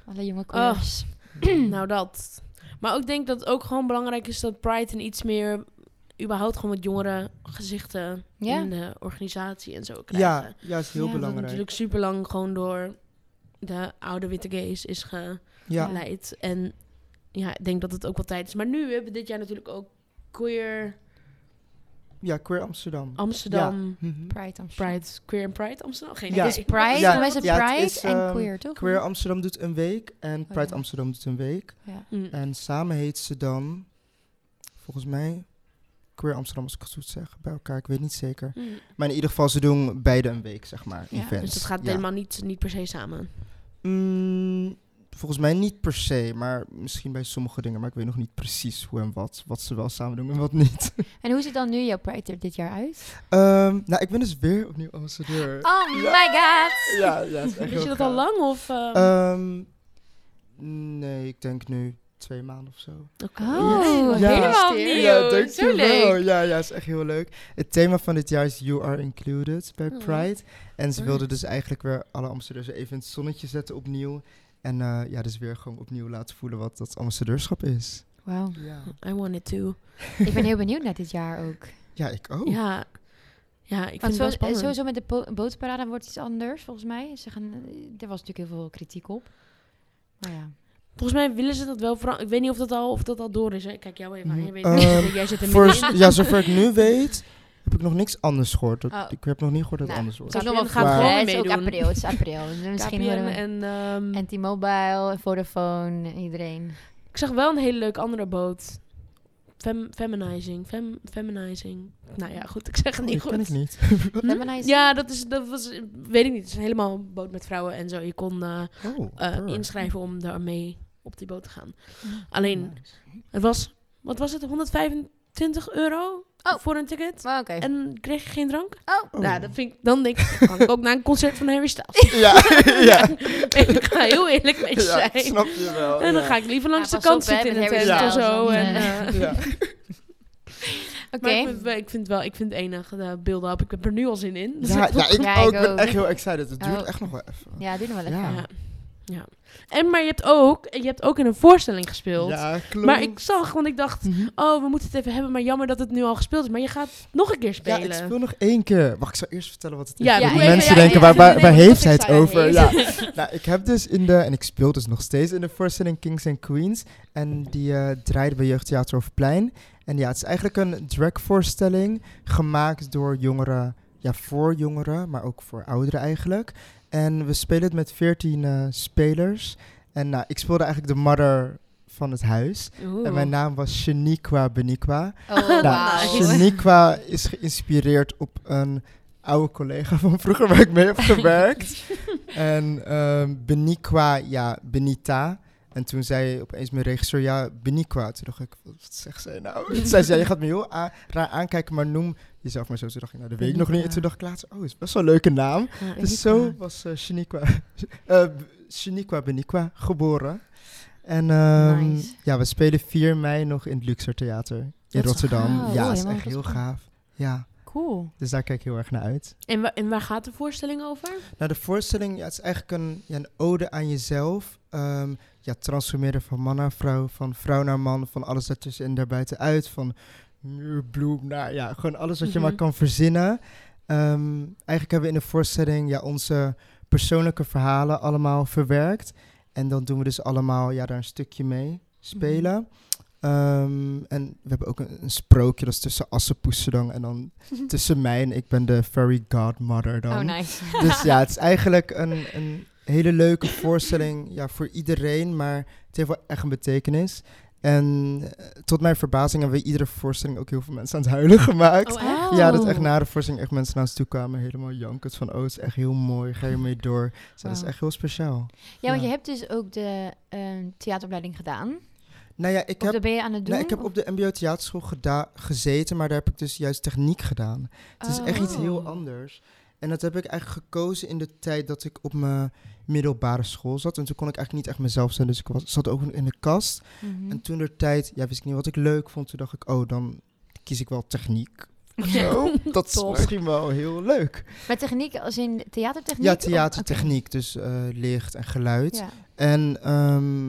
[SPEAKER 3] alle jonge koers.
[SPEAKER 2] Nou, dat. Maar ik denk dat het ook gewoon belangrijk is dat Pride een iets meer... überhaupt gewoon wat jongere gezichten
[SPEAKER 3] Ja.
[SPEAKER 2] in de organisatie en zo krijgen.
[SPEAKER 4] Ja, ja, is heel
[SPEAKER 2] Dat
[SPEAKER 3] Ja, dat
[SPEAKER 4] belangrijk.
[SPEAKER 2] natuurlijk super lang gewoon door de oude witte gays is
[SPEAKER 4] Ja.
[SPEAKER 2] geleid. En ja, ik denk dat het ook wel tijd is. Maar nu hebben we dit jaar natuurlijk ook queer
[SPEAKER 4] ja, Queer Amsterdam.
[SPEAKER 2] Amsterdam...
[SPEAKER 4] Mhm.
[SPEAKER 3] Oh, Pride Amsterdam.
[SPEAKER 2] Pride, queer en Pride Amsterdam? Geen
[SPEAKER 4] Ja.
[SPEAKER 3] Het
[SPEAKER 2] idee.
[SPEAKER 3] is Pride,
[SPEAKER 4] Ja,
[SPEAKER 3] ja, is het
[SPEAKER 4] ja, het
[SPEAKER 3] Pride
[SPEAKER 4] is,
[SPEAKER 3] en
[SPEAKER 4] ehm,
[SPEAKER 3] queer, toch?
[SPEAKER 4] Queer Amsterdam doet een week en Pride
[SPEAKER 3] Oh, ja.
[SPEAKER 4] Amsterdam doet een week.
[SPEAKER 3] Ja.
[SPEAKER 2] Mm.
[SPEAKER 4] En samen heet ze dan, volgens mij, Queer Amsterdam als ik het goed zeg, bij elkaar. Ik weet niet zeker.
[SPEAKER 2] Mm.
[SPEAKER 4] Maar in ieder geval, ze doen beide een week, zeg maar,
[SPEAKER 3] Ja,
[SPEAKER 4] events.
[SPEAKER 2] Dus dat gaat
[SPEAKER 4] Ja.
[SPEAKER 2] helemaal niet, niet per se samen.
[SPEAKER 4] Mm, volgens mij niet per se, maar misschien bij sommige dingen. Maar ik weet nog niet precies hoe en wat. Wat ze wel samen doen en wat niet.
[SPEAKER 3] En hoe ziet dan nu jouw Pride er dit jaar uit?
[SPEAKER 4] Ehm, nou, ik ben dus weer opnieuw ambassadeur.
[SPEAKER 3] Oh my god!
[SPEAKER 4] Ja, ja, het is echt
[SPEAKER 2] Weet Ah. je
[SPEAKER 4] heel
[SPEAKER 2] dat al
[SPEAKER 4] gaaf.
[SPEAKER 2] lang? Of, eh,
[SPEAKER 4] Ehm, nee, ik denk nu twee maanden of zo.
[SPEAKER 2] oké.
[SPEAKER 3] Oh,
[SPEAKER 4] Ja.
[SPEAKER 3] helemaal
[SPEAKER 2] Ja,
[SPEAKER 3] nieuw. Zo
[SPEAKER 4] dankjewel.
[SPEAKER 3] leuk.
[SPEAKER 4] Ja, ja, is echt heel leuk. Het thema van dit jaar is You Are Included bij
[SPEAKER 2] Oh.
[SPEAKER 4] Pride. En ze
[SPEAKER 2] Oh.
[SPEAKER 4] wilden dus eigenlijk weer alle ambassadeurs even in het zonnetje zetten opnieuw. En eh, ja, dus weer gewoon opnieuw laten voelen wat dat ambassadeurschap is.
[SPEAKER 3] Wauw.
[SPEAKER 4] Ja,
[SPEAKER 2] I wanted to.
[SPEAKER 3] Ik ben heel benieuwd naar dit jaar ook.
[SPEAKER 4] ja ik ook.
[SPEAKER 2] Ja. ja, ik vind het
[SPEAKER 3] Want
[SPEAKER 2] wel
[SPEAKER 3] zo, eh,
[SPEAKER 2] spannend.
[SPEAKER 3] sowieso met de po- bootparade wordt iets anders, volgens mij. Ze gaan, eh, er was natuurlijk heel veel kritiek op. Maar ja.
[SPEAKER 2] Volgens mij willen ze dat wel veranderen. Ik weet niet of dat al, of dat al door is. Hè? Kijk, jou even aan.
[SPEAKER 4] Mhm.
[SPEAKER 2] Jij, weet,
[SPEAKER 4] Ehm,
[SPEAKER 2] jij zit er
[SPEAKER 4] Voor,
[SPEAKER 2] middenin.
[SPEAKER 4] ja, zover ik nu weet, heb ik nog niks anders gehoord. Dat-
[SPEAKER 3] Oh.
[SPEAKER 4] Ik heb nog niet gehoord dat het
[SPEAKER 3] Nou,
[SPEAKER 4] anders wordt.
[SPEAKER 2] KPN
[SPEAKER 3] Zou ik nog
[SPEAKER 2] gaat
[SPEAKER 3] wat-
[SPEAKER 2] gewoon
[SPEAKER 3] Ja,
[SPEAKER 2] mee
[SPEAKER 3] Het is ook
[SPEAKER 2] doen.
[SPEAKER 3] april, het is april. Dus Misschien
[SPEAKER 2] KPN
[SPEAKER 3] worden we-
[SPEAKER 2] en... ehm,
[SPEAKER 3] En T-Mobile, Vodafone, iedereen.
[SPEAKER 2] Ik zag wel een hele leuke andere boot. Fem, feminizing. Fem, feminizing. Nou ja, goed. Ik zeg het
[SPEAKER 4] Oh,
[SPEAKER 2] niet
[SPEAKER 4] ik
[SPEAKER 2] goed.
[SPEAKER 4] ken het niet.
[SPEAKER 3] Feminize-
[SPEAKER 2] Ja, dat, is, dat was... Weet ik niet. Het is helemaal een boot met vrouwen en zo. Je kon... eh,
[SPEAKER 4] Oh,
[SPEAKER 2] eh,
[SPEAKER 4] purr.
[SPEAKER 2] inschrijven om daarmee op die boot te gaan. Alleen,
[SPEAKER 4] Nice.
[SPEAKER 2] het was, wat was het, 125 euro
[SPEAKER 3] Oh.
[SPEAKER 2] voor een ticket?
[SPEAKER 3] Maar oké.
[SPEAKER 2] En kreeg je geen drank?
[SPEAKER 3] Oh.
[SPEAKER 4] Oh.
[SPEAKER 2] Nou, dat vind ik, dan denk ik, kan ik ook naar een concert van Harry Styles.
[SPEAKER 4] Ja, ja.
[SPEAKER 2] ik ga heel eerlijk met je
[SPEAKER 4] ja, ik
[SPEAKER 2] zijn.
[SPEAKER 4] snap je wel.
[SPEAKER 2] en dan
[SPEAKER 4] ja.
[SPEAKER 2] ga ik liever langs
[SPEAKER 3] Ja,
[SPEAKER 2] de
[SPEAKER 3] pas
[SPEAKER 2] kant
[SPEAKER 3] op, hè,
[SPEAKER 2] zitten in
[SPEAKER 3] met
[SPEAKER 2] een tent
[SPEAKER 4] Harry
[SPEAKER 2] of
[SPEAKER 3] Styles,
[SPEAKER 2] zo.
[SPEAKER 3] dan,
[SPEAKER 2] En,
[SPEAKER 3] eh.
[SPEAKER 2] eh,
[SPEAKER 4] Ja.
[SPEAKER 3] Oké.
[SPEAKER 2] maar ik, vind, wel- ik vind wel, ik vind het enig, de build-up, ik heb er nu al zin in. Dus
[SPEAKER 4] Ja, ja, ik,
[SPEAKER 3] Ja, ik
[SPEAKER 4] ook. Ik ben
[SPEAKER 3] ook.
[SPEAKER 4] echt heel excited. Het duurt
[SPEAKER 3] Oh.
[SPEAKER 4] echt nog wel even.
[SPEAKER 3] Ja, doe nog wel even.
[SPEAKER 4] Ja.
[SPEAKER 2] ja. Ja. En, maar je hebt, ook, je hebt ook in een voorstelling gespeeld.
[SPEAKER 4] Ja, klopt.
[SPEAKER 2] maar ik zag, want ik dacht,
[SPEAKER 4] Mhm.
[SPEAKER 2] Oh, we moeten het even hebben, maar jammer dat het nu al gespeeld is. Maar je gaat nog een keer
[SPEAKER 4] Ja,
[SPEAKER 2] spelen.
[SPEAKER 4] ik speel nog één keer. Wacht, ik zou eerst vertellen wat het is.
[SPEAKER 2] Ja,
[SPEAKER 4] want
[SPEAKER 2] doe
[SPEAKER 4] die
[SPEAKER 2] even,
[SPEAKER 4] mensen
[SPEAKER 2] ja,
[SPEAKER 4] denken,
[SPEAKER 2] ja,
[SPEAKER 4] waar,
[SPEAKER 2] ja,
[SPEAKER 4] waar,
[SPEAKER 2] ja,
[SPEAKER 4] waar
[SPEAKER 2] ja,
[SPEAKER 4] heeft
[SPEAKER 2] ja,
[SPEAKER 4] hij het
[SPEAKER 2] ja, ja,
[SPEAKER 4] over?
[SPEAKER 2] ja.
[SPEAKER 4] Ja. nou, ik heb dus in de, en ik speel dus nog steeds in de voorstelling Kings and Queens. En die eh, draaide bij Jeugdtheater of Plein. En ja, het is eigenlijk een dragvoorstelling gemaakt door jongeren, ja, voor jongeren, maar ook voor ouderen eigenlijk. En we spelen het met veertien eh, spelers. En nou, ik speelde eigenlijk de mother van het huis. En mijn naam was Shaniqua Beniqua.
[SPEAKER 3] Oh,
[SPEAKER 4] Nou,
[SPEAKER 3] wauw.
[SPEAKER 4] Shaniqua is geïnspireerd op een oude collega van vroeger waar ik mee heb gewerkt. en ehm Beniqua, ja, Benita. En toen zei opeens mijn regisseur, ja, Beniqua. Toen dacht ik, wat zegt zij nou? Toen zei ze, ja, je gaat me heel a- raar aankijken, maar noem jezelf maar zo. Toen dacht ik, nou, dat weet ik nog niet. En toen dacht ik later, oh, is best wel een leuke naam.
[SPEAKER 3] Ja,
[SPEAKER 4] Dus zo was eh Shaniqua, eh, Shaniqua Beniqua geboren. En ehm,
[SPEAKER 3] Nice.
[SPEAKER 4] ja, we spelen 4 mei nog in het Luxor Theater in
[SPEAKER 3] Dat is
[SPEAKER 4] Rotterdam.
[SPEAKER 3] gaaf.
[SPEAKER 4] Ja,
[SPEAKER 3] Oh,
[SPEAKER 4] dat is
[SPEAKER 3] helemaal
[SPEAKER 4] echt heel
[SPEAKER 3] Rotterdam.
[SPEAKER 4] gaaf. Ja,
[SPEAKER 3] Cool.
[SPEAKER 4] dus daar kijk ik heel erg naar uit.
[SPEAKER 2] En, wa- en waar gaat de voorstelling over?
[SPEAKER 4] Nou, de voorstelling ja, het is eigenlijk een, ja, een ode aan jezelf. Ehm, ja, transformeren van man naar vrouw, van vrouw naar man, van alles daartussen en daarbuitenuit. Van muurbloem naar, ja, gewoon alles wat je
[SPEAKER 2] Mhm.
[SPEAKER 4] maar kan verzinnen. Ehm, eigenlijk hebben we in de voorstelling ja, onze persoonlijke verhalen allemaal verwerkt. En dan doen we dus allemaal ja, daar een stukje mee spelen. Ehm, en we hebben ook een, een sprookje, dat is tussen Assenpoesedang en dan tussen mij en ik ben de fairy godmother dan.
[SPEAKER 2] ehm,
[SPEAKER 3] Oh, nice.
[SPEAKER 4] Dus ja, het is eigenlijk een, een hele leuke voorstelling ja, voor iedereen, maar het heeft wel echt een betekenis. En eh, tot mijn verbazing hebben we iedere voorstelling ook heel veel mensen aan het huilen gemaakt.
[SPEAKER 3] Oh, echt?
[SPEAKER 4] Ja, dat echt
[SPEAKER 3] Oh.
[SPEAKER 4] na de voorstelling echt mensen naar ons toe kwamen, helemaal jankend van, oh, het is echt heel mooi, ga je mee door. Dus dat is
[SPEAKER 3] Wauw.
[SPEAKER 4] echt heel speciaal.
[SPEAKER 3] Ja, want
[SPEAKER 4] Ja.
[SPEAKER 3] je hebt dus ook de ehm, theateropleiding gedaan.
[SPEAKER 4] Nou ja, ik
[SPEAKER 3] Of
[SPEAKER 4] heb,
[SPEAKER 3] dat ben je aan het doen?
[SPEAKER 4] nou, ik heb
[SPEAKER 3] Of-
[SPEAKER 4] op de mbo theaterschool geda- gezeten, maar daar heb ik dus juist techniek gedaan. Het is echt iets
[SPEAKER 3] Oh.
[SPEAKER 4] heel anders. En dat heb ik eigenlijk gekozen in de tijd dat ik op mijn middelbare school zat. En toen kon ik eigenlijk niet echt mezelf zijn. Dus ik was, zat ook in de kast.
[SPEAKER 3] Mhm.
[SPEAKER 4] En toen de tijd, ja, wist ik niet wat ik leuk vond. Toen dacht ik, oh, dan kies ik wel techniek. of
[SPEAKER 3] Ja.
[SPEAKER 4] Zo, dat is
[SPEAKER 3] Top.
[SPEAKER 4] misschien wel heel leuk.
[SPEAKER 3] Maar techniek als in theatertechniek?
[SPEAKER 4] Ja,
[SPEAKER 3] Of-
[SPEAKER 4] theatertechniek, dus eh, licht en geluid.
[SPEAKER 3] oké. Ja.
[SPEAKER 4] En ehm,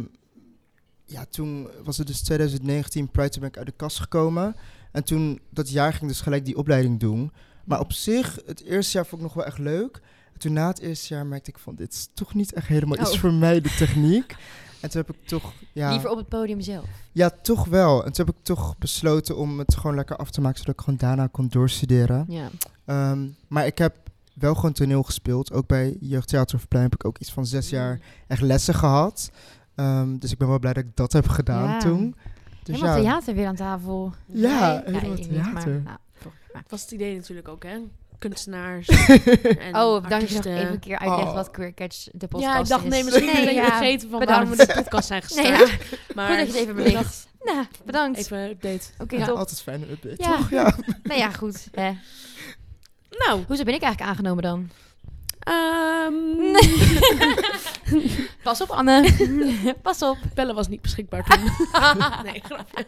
[SPEAKER 4] ja, toen was het dus 2019, Pride, toen ben ik uit de kast gekomen. En toen, dat jaar ging ik dus gelijk die opleiding doen. Maar op zich, het eerste jaar vond ik nog wel echt leuk. En toen na het eerste jaar merkte ik van, dit is toch niet echt helemaal iets
[SPEAKER 3] Oh.
[SPEAKER 4] voor mij, de techniek. En toen heb ik toch, ja,
[SPEAKER 3] Liever op het podium zelf.
[SPEAKER 4] ja, toch wel. En toen heb ik toch besloten om het gewoon lekker af te maken, zodat ik gewoon daarna kon doorstuderen.
[SPEAKER 3] Ja.
[SPEAKER 4] Ehm, maar ik heb wel gewoon toneel gespeeld. Ook bij Jeugdtheaterverplein heb ik ook iets van zes
[SPEAKER 3] Mm.
[SPEAKER 4] jaar echt lessen gehad. Ehm, dus ik ben wel blij dat ik dat heb gedaan
[SPEAKER 3] Ja.
[SPEAKER 4] toen. Dus
[SPEAKER 3] Helemaal
[SPEAKER 4] ja,
[SPEAKER 3] theater weer aan tafel.
[SPEAKER 4] ja,
[SPEAKER 3] Nee,
[SPEAKER 4] helemaal
[SPEAKER 3] ik niet, maar,
[SPEAKER 4] theater.
[SPEAKER 3] nou, volgens mij.
[SPEAKER 2] was het idee natuurlijk ook, hè? Kunstenaars. en
[SPEAKER 3] Oh, dank je nog
[SPEAKER 2] artiesten.
[SPEAKER 3] even een keer uitleggen
[SPEAKER 4] Oh.
[SPEAKER 3] wat Queer Catch de podcast
[SPEAKER 2] Ja, ik dacht,
[SPEAKER 3] is.
[SPEAKER 2] nee, misschien ben ik
[SPEAKER 3] ja.
[SPEAKER 2] vergeten van
[SPEAKER 3] bedankt.
[SPEAKER 2] waarom we de podcast zijn
[SPEAKER 3] Nee,
[SPEAKER 2] gestart.
[SPEAKER 3] ja.
[SPEAKER 2] Maar
[SPEAKER 3] Goed dat je het even
[SPEAKER 2] ik dacht,
[SPEAKER 3] belicht. Nou, bedankt.
[SPEAKER 2] Even een update.
[SPEAKER 3] Oké,
[SPEAKER 4] Ja,
[SPEAKER 3] top.
[SPEAKER 4] altijd fijn update,
[SPEAKER 3] Ja.
[SPEAKER 4] toch? Ja.
[SPEAKER 3] Nou ja, goed. Hè.
[SPEAKER 2] Nou,
[SPEAKER 3] Hoezo ben ik eigenlijk aangenomen dan?
[SPEAKER 2] ehm
[SPEAKER 3] Pas op, Anne. Pas op.
[SPEAKER 2] Bellen was niet beschikbaar toen. nee, grapje.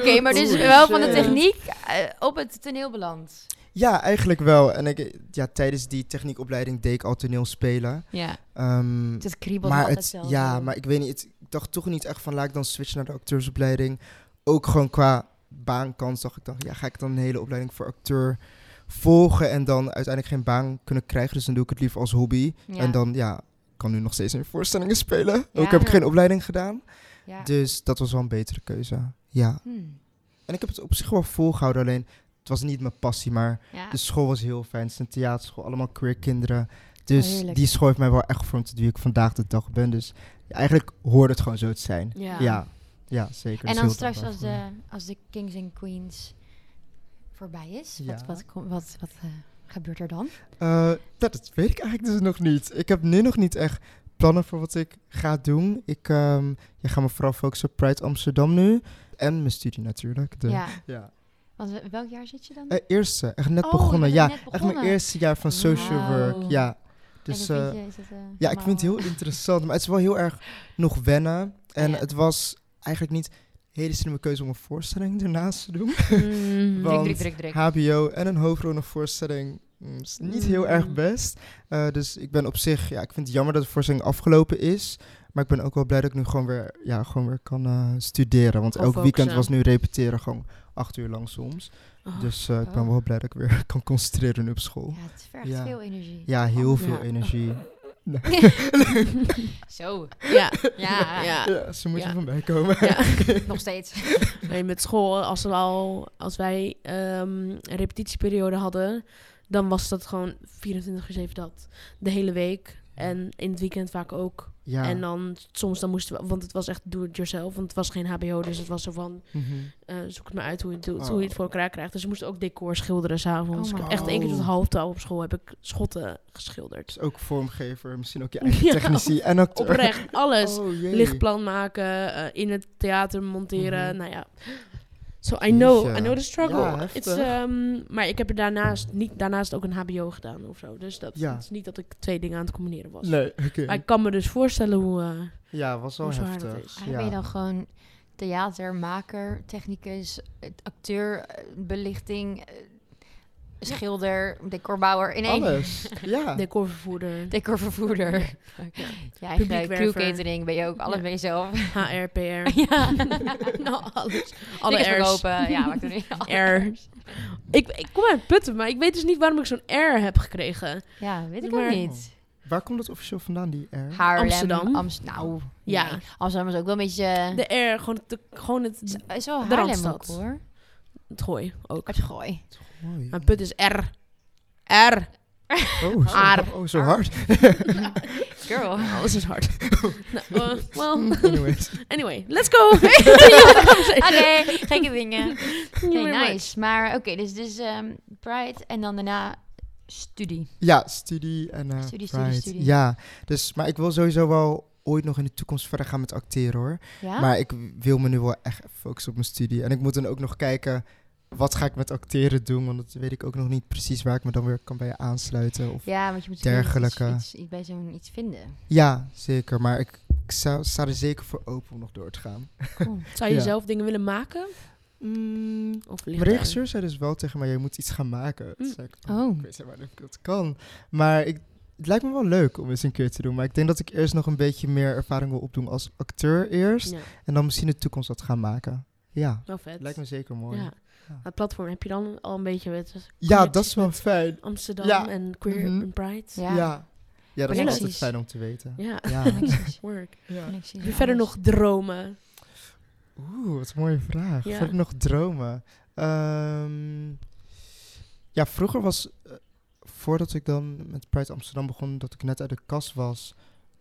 [SPEAKER 3] Oké, maar dus
[SPEAKER 4] Oei,
[SPEAKER 3] wel van de
[SPEAKER 4] shit.
[SPEAKER 3] techniek eh, op het toneel beland.
[SPEAKER 4] ja, eigenlijk wel. En ik, ja, tijdens die techniekopleiding deed ik al toneel spelen.
[SPEAKER 3] Ja.
[SPEAKER 4] Ehm,
[SPEAKER 3] Het kriebelt
[SPEAKER 4] maar
[SPEAKER 3] altijd eh,
[SPEAKER 4] het,
[SPEAKER 3] wel
[SPEAKER 4] ja,
[SPEAKER 3] zo.
[SPEAKER 4] maar ik weet niet, het- ik dacht toch niet echt van laat ik dan switchen naar de acteursopleiding. Ook gewoon qua baankans dacht ik dan, ja, ga ik dan een hele opleiding voor acteur volgen en dan uiteindelijk geen baan kunnen krijgen. Dus dan doe ik het liever als hobby.
[SPEAKER 3] Ja.
[SPEAKER 4] En dan, ja, ik kan nu nog steeds in voorstellingen spelen.
[SPEAKER 3] Ja.
[SPEAKER 4] Ook heb ik geen opleiding gedaan.
[SPEAKER 3] Ja.
[SPEAKER 4] Dus dat was wel een betere keuze. Ja.
[SPEAKER 3] Hmm.
[SPEAKER 4] En ik heb het op zich wel volgehouden, alleen het was niet mijn passie, maar
[SPEAKER 3] Ja.
[SPEAKER 4] de school was heel fijn. Het is een theaterschool, allemaal queer kinderen. Dus
[SPEAKER 3] Oh, heerlijk.
[SPEAKER 4] die school heeft mij wel echt gevormd tot wie ik vandaag de dag ben. Dus eigenlijk hoorde het gewoon zo te zijn.
[SPEAKER 2] Ja.
[SPEAKER 4] Ja, ja zeker.
[SPEAKER 3] en
[SPEAKER 4] Dus
[SPEAKER 3] dan
[SPEAKER 4] heel
[SPEAKER 3] straks
[SPEAKER 4] dankbaar
[SPEAKER 3] als
[SPEAKER 4] voor.
[SPEAKER 3] de, als de Kings and Queens voorbij is,
[SPEAKER 4] Ja.
[SPEAKER 3] wat, wat, kom- wat, wat eh, gebeurt er dan?
[SPEAKER 4] Eh, dat, dat weet ik eigenlijk dus nog niet. Ik heb nu nog niet echt plannen voor wat ik ga doen. Ik ehm ja, ga me vooral focussen op Pride Amsterdam nu. En mijn studie natuurlijk. De,
[SPEAKER 3] Ja.
[SPEAKER 4] ja.
[SPEAKER 3] Want we- welk jaar zit je dan?
[SPEAKER 4] Eh, eerste, echt net
[SPEAKER 3] Oh, je
[SPEAKER 4] begonnen.
[SPEAKER 3] bent
[SPEAKER 4] Ja,
[SPEAKER 3] net
[SPEAKER 4] echt mijn
[SPEAKER 3] begonnen.
[SPEAKER 4] eerste jaar van social
[SPEAKER 3] Wauw.
[SPEAKER 4] work. Ja, dus...
[SPEAKER 3] en
[SPEAKER 4] eh,
[SPEAKER 3] dan vind je, is het, eh,
[SPEAKER 4] Ja, ik vind het
[SPEAKER 3] allemaal-
[SPEAKER 4] heel interessant, maar het is wel heel erg nog wennen. En
[SPEAKER 3] Ja.
[SPEAKER 4] het was eigenlijk niet een hele slimme keuze om een voorstelling ernaast te doen.
[SPEAKER 3] Mm,
[SPEAKER 4] want
[SPEAKER 3] druk, druk, druk, druk.
[SPEAKER 4] HBO en een hoofdrol in een voorstelling mm, is niet heel erg
[SPEAKER 2] Mm.
[SPEAKER 4] best. Eh, dus ik ben op zich, ja, ik vind het jammer dat de voorstelling afgelopen is. Maar ik ben ook wel blij dat ik nu gewoon weer, ja, gewoon weer kan eh, studeren. Want
[SPEAKER 2] Kan
[SPEAKER 4] elk weekend
[SPEAKER 2] focussen.
[SPEAKER 4] was nu repeteren gewoon acht uur lang soms.
[SPEAKER 2] Oh.
[SPEAKER 4] Dus eh, ik ben
[SPEAKER 3] Oh.
[SPEAKER 4] wel blij dat ik weer kan concentreren nu op school.
[SPEAKER 3] Ja, het vergt
[SPEAKER 4] Ja.
[SPEAKER 3] veel energie.
[SPEAKER 4] Ja, heel
[SPEAKER 2] Ja.
[SPEAKER 4] veel energie.
[SPEAKER 3] Zo.
[SPEAKER 2] Ja.
[SPEAKER 3] Ja,
[SPEAKER 2] Ja.
[SPEAKER 4] Ja, ze moeten
[SPEAKER 2] Ja.
[SPEAKER 4] van mij komen.
[SPEAKER 3] nog steeds.
[SPEAKER 2] Nee, met school, als, we al, als wij ehm, een repetitieperiode hadden, dan was dat gewoon 24 uur 7 dat. De hele week. En in het weekend vaak ook.
[SPEAKER 4] Ja.
[SPEAKER 2] En dan soms dan moesten we, want het was echt do it yourself, want het was geen HBO, dus het was zo van
[SPEAKER 4] Mhm.
[SPEAKER 2] eh, zoek het maar uit hoe je het doet,
[SPEAKER 4] Oh.
[SPEAKER 2] hoe je het voor elkaar krijgt. Dus we moesten ook decor schilderen s'avonds.
[SPEAKER 3] Oh
[SPEAKER 2] ik
[SPEAKER 3] my
[SPEAKER 2] heb echt één keer tot
[SPEAKER 4] God.
[SPEAKER 2] half twaalf op school heb ik schotten geschilderd.
[SPEAKER 4] Dus ook vormgever, misschien ook je eigen
[SPEAKER 2] Ja,
[SPEAKER 4] technici en acteur.
[SPEAKER 2] Oprecht, Dus alles.
[SPEAKER 4] Oh, jee.
[SPEAKER 2] Lichtplan maken, eh, in het theater monteren,
[SPEAKER 4] Mhm.
[SPEAKER 2] nou ja. So I know,
[SPEAKER 4] Jeetje.
[SPEAKER 2] I know the struggle.
[SPEAKER 4] Ja,
[SPEAKER 2] It's,
[SPEAKER 4] heftig.
[SPEAKER 2] ehm, maar ik heb er daarnaast, niet, daarnaast ook een hbo gedaan of zo. Dus dat
[SPEAKER 4] Ja.
[SPEAKER 2] het is niet dat ik twee dingen aan het combineren was.
[SPEAKER 4] Nee, oké.
[SPEAKER 2] Maar ik kan me dus voorstellen hoe... eh,
[SPEAKER 4] Ja, was wel
[SPEAKER 2] Hoe zwaar dat
[SPEAKER 4] heftig.
[SPEAKER 2] is.
[SPEAKER 3] Ah,
[SPEAKER 4] Ja.
[SPEAKER 3] Ben je dan gewoon theater, maker, technicus, eh, acteur, eh, belichting, eh, schilder, decorbouwer in één?
[SPEAKER 4] Alles. Ja.
[SPEAKER 2] Decorvervoerder,
[SPEAKER 3] Decorvervoerder.
[SPEAKER 2] Ja.
[SPEAKER 3] Je eigen
[SPEAKER 2] Publiekwerver.
[SPEAKER 3] crew catering ben je ook, alles
[SPEAKER 2] Ja.
[SPEAKER 3] ben je zelf.
[SPEAKER 2] HR, PR,
[SPEAKER 3] ja.
[SPEAKER 2] nou alles.
[SPEAKER 3] Alle
[SPEAKER 2] Alle R's.
[SPEAKER 3] verkopen. Ja, maakt er niet uit.
[SPEAKER 2] R. Ik, ik kom uit Putten, maar ik weet dus niet waarom ik zo'n R heb gekregen.
[SPEAKER 3] Ja, weet ik
[SPEAKER 2] Maar-
[SPEAKER 3] ook niet.
[SPEAKER 4] Waar komt dat officieel vandaan, die R?
[SPEAKER 3] Haarlem.
[SPEAKER 2] Amsterdam. Oh,
[SPEAKER 3] Amst- nou,
[SPEAKER 2] Ja.
[SPEAKER 3] nee. Amsterdam is ook wel een beetje... eh,
[SPEAKER 2] De R, gewoon, de, gewoon het,
[SPEAKER 3] is- is wel
[SPEAKER 2] de
[SPEAKER 3] Haarlem ook,
[SPEAKER 2] Randstad.
[SPEAKER 3] hoor.
[SPEAKER 2] het gooi ook.
[SPEAKER 3] Het gooi.
[SPEAKER 4] Mooi.
[SPEAKER 2] Maar Put is R. R.
[SPEAKER 4] Oh, zo,
[SPEAKER 2] Aar.
[SPEAKER 4] oh, zo hard.
[SPEAKER 3] Girl.
[SPEAKER 2] Alles is hard. nou, eh, well,
[SPEAKER 4] Anyways.
[SPEAKER 2] anyway, let's go.
[SPEAKER 3] Oké, Ah, gekke dingen. Oké, nice. Maar oké, dus, dus ehm, Pride en dan daarna studie.
[SPEAKER 4] Ja, studie en eh,
[SPEAKER 3] Studie, studie,
[SPEAKER 4] Pride.
[SPEAKER 3] studie.
[SPEAKER 4] Ja, dus, maar ik wil sowieso wel ooit nog in de toekomst verder gaan met acteren hoor.
[SPEAKER 3] Ja?
[SPEAKER 4] Maar ik wil me nu wel echt focussen op mijn studie. En ik moet dan ook nog kijken, wat ga ik met acteren doen? Want dat weet ik ook nog niet precies waar ik me dan weer kan bij aansluiten. Of... Ja.
[SPEAKER 3] ja, want je moet
[SPEAKER 4] dergelijke.
[SPEAKER 3] Iets, iets, iets bij zo'n iets vinden.
[SPEAKER 4] zeker. Maar ik, ik zou, sta er zeker voor open om nog door te gaan.
[SPEAKER 3] Cool.
[SPEAKER 2] Zou je
[SPEAKER 4] Ja.
[SPEAKER 2] zelf dingen willen maken? Of Mm, ligt
[SPEAKER 4] Mijn regisseur zei dus wel tegen mij, jij moet iets gaan maken. Toen
[SPEAKER 2] Mm.
[SPEAKER 4] zei ik,
[SPEAKER 3] Oh.
[SPEAKER 4] Ik weet niet waar ik dat kan. Maar ik, het lijkt me wel leuk om eens een keer te doen. Maar ik denk dat ik eerst nog een beetje meer ervaring wil opdoen als acteur eerst.
[SPEAKER 2] Ja,
[SPEAKER 4] En dan misschien in de toekomst wat gaan maken. Ja,
[SPEAKER 2] wel vet.
[SPEAKER 4] lijkt me zeker mooi.
[SPEAKER 2] ja.
[SPEAKER 4] Ja,
[SPEAKER 2] Het platform heb je dan al een beetje met
[SPEAKER 4] dat is wel fijn.
[SPEAKER 2] Amsterdam
[SPEAKER 4] Ja.
[SPEAKER 2] en Queer
[SPEAKER 4] Mhm.
[SPEAKER 2] en Pride.
[SPEAKER 3] Ja,
[SPEAKER 4] Ja, ja. dat is altijd
[SPEAKER 3] Precies.
[SPEAKER 4] fijn om te weten.
[SPEAKER 2] Ja.
[SPEAKER 4] Ja.
[SPEAKER 3] connecties.
[SPEAKER 2] Work.
[SPEAKER 4] Ja.
[SPEAKER 3] Connecties en
[SPEAKER 2] Heb je verder
[SPEAKER 3] alles.
[SPEAKER 2] nog dromen?
[SPEAKER 4] Oeh, wat een mooie vraag.
[SPEAKER 2] Ja.
[SPEAKER 4] Verder nog dromen. Ehm, ja, vroeger was, eh, voordat ik dan met Pride Amsterdam begon, dat ik net uit de kast was,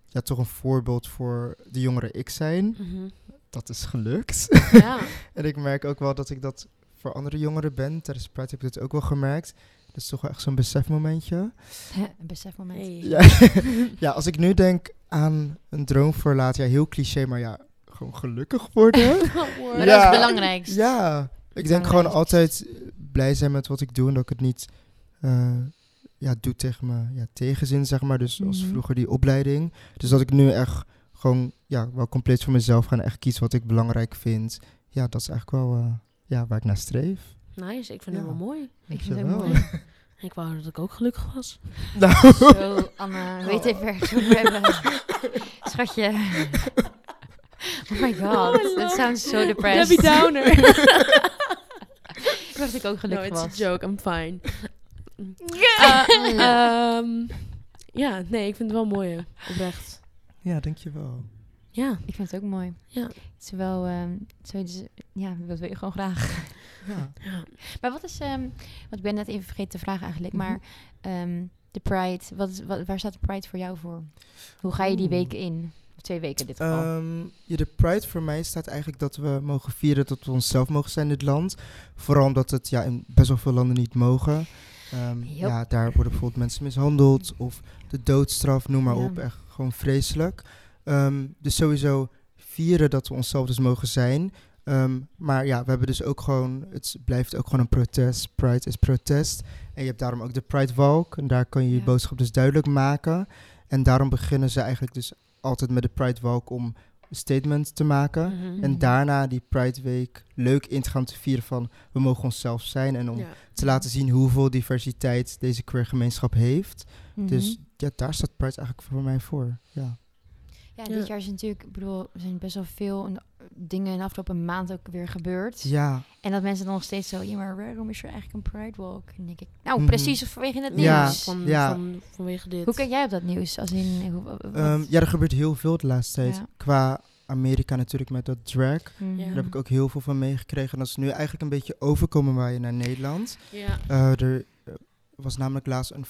[SPEAKER 4] ja, toch een voorbeeld voor de jongere ik zijn.
[SPEAKER 2] Mhm.
[SPEAKER 4] Dat is gelukt.
[SPEAKER 2] Ja.
[SPEAKER 4] En ik merk ook wel dat ik dat voor andere jongeren ben. Tijdens Pride heb ik dat ook wel gemerkt. Dat is toch wel echt zo'n besefmomentje.
[SPEAKER 3] Een besefmoment.
[SPEAKER 2] Hey.
[SPEAKER 4] Ja. ja, als ik nu denk aan een droom voor later. Ja, heel cliché, maar ja, gewoon gelukkig worden.
[SPEAKER 3] Maar
[SPEAKER 4] Ja.
[SPEAKER 3] Oh, dat is het belangrijkste.
[SPEAKER 4] ja, ik denk gewoon altijd blij zijn met wat ik doe. En dat ik het niet eh, ja, doe tegen mijn ja, tegenzin, zeg maar. Dus als
[SPEAKER 3] Mhm.
[SPEAKER 4] vroeger die opleiding. Dus dat ik nu echt gewoon ja, wel compleet voor mezelf ga. En echt kies wat ik belangrijk vind. Ja, dat is eigenlijk wel eh, ja, waar ik naar streef.
[SPEAKER 2] Nice, ik vind
[SPEAKER 4] Ja.
[SPEAKER 2] het wel mooi.
[SPEAKER 3] Ik vind het ook
[SPEAKER 4] Dankjewel.
[SPEAKER 3] mooi.
[SPEAKER 2] Ik wou dat ik ook gelukkig was.
[SPEAKER 4] Nou,
[SPEAKER 3] Zo, Anne, weet even ergens over hebben. Schatje. Oh my god, that sounds so depressed.
[SPEAKER 2] Debbie Downer.
[SPEAKER 3] Ik dacht dat ik ook
[SPEAKER 2] no,
[SPEAKER 3] gelukkig
[SPEAKER 2] it's a
[SPEAKER 3] was.
[SPEAKER 2] joke, I'm fine.
[SPEAKER 3] Eh, eh,
[SPEAKER 2] Ehm, ja, nee, ik vind het wel mooi, hè, oprecht.
[SPEAKER 4] ja, dankjewel.
[SPEAKER 2] Ja,
[SPEAKER 3] ik vind het ook mooi.
[SPEAKER 2] Ja.
[SPEAKER 3] Het is wel, ehm, het is wel- ja, dat wil je gewoon graag.
[SPEAKER 4] Ja.
[SPEAKER 3] Maar wat is, ehm want ik ben net even vergeten te vragen eigenlijk,
[SPEAKER 4] Mhm.
[SPEAKER 3] maar ehm, de Pride, wat is, wat, waar staat de Pride voor jou voor? Hoe ga je die
[SPEAKER 4] Oeh.
[SPEAKER 3] week in? Of twee weken in dit geval.
[SPEAKER 4] Ehm, ja, de Pride voor mij staat eigenlijk dat we mogen vieren dat we onszelf mogen zijn in dit land. Vooral omdat het ja, in best wel veel landen niet mogen. Ehm,
[SPEAKER 3] Yep.
[SPEAKER 4] ja, daar worden bijvoorbeeld mensen mishandeld of de doodstraf, noem maar
[SPEAKER 3] Ja.
[SPEAKER 4] op. Echt gewoon vreselijk. Ehm, dus sowieso vieren dat we onszelf dus mogen zijn. Ehm, maar ja, we hebben dus ook gewoon, het blijft ook gewoon een protest. Pride is protest. En je hebt daarom ook de Pride Walk. En daar kan je je
[SPEAKER 3] Ja.
[SPEAKER 4] boodschap dus duidelijk maken. En daarom beginnen ze eigenlijk dus altijd met de Pride Walk om een statement te maken.
[SPEAKER 2] Mhm.
[SPEAKER 4] En daarna die Pride Week leuk in te gaan te vieren van we mogen onszelf zijn. En om
[SPEAKER 2] ja.
[SPEAKER 4] te laten zien hoeveel diversiteit deze queer gemeenschap heeft.
[SPEAKER 3] Mhm.
[SPEAKER 4] Dus ja, daar staat Pride eigenlijk voor mij voor. Ja.
[SPEAKER 3] Ja,
[SPEAKER 2] Ja.
[SPEAKER 3] dit jaar is natuurlijk, ik bedoel, er zijn best wel veel en- dingen in de afgelopen maand ook weer gebeurd.
[SPEAKER 4] Ja,
[SPEAKER 3] En dat mensen dan nog steeds zo, ja, maar waarom is er eigenlijk een Pride Walk? En dan denk ik, nou,
[SPEAKER 4] Mhm.
[SPEAKER 3] precies vanwege het
[SPEAKER 4] Ja,
[SPEAKER 3] nieuws.
[SPEAKER 2] van,
[SPEAKER 4] ja.
[SPEAKER 2] Van, vanwege dit.
[SPEAKER 3] Hoe kijk jij op dat nieuws? Als in, hoe, wat-
[SPEAKER 4] Ehm, ja er gebeurt heel veel de laatste tijd.
[SPEAKER 3] Ja.
[SPEAKER 4] Qua Amerika natuurlijk met dat drag.
[SPEAKER 3] Mhm.
[SPEAKER 2] Ja.
[SPEAKER 4] Daar heb ik ook heel veel van meegekregen. En dat is nu eigenlijk een beetje overkomen waaien naar Nederland.
[SPEAKER 2] Ja.
[SPEAKER 4] Eh, er eh, was namelijk laatst een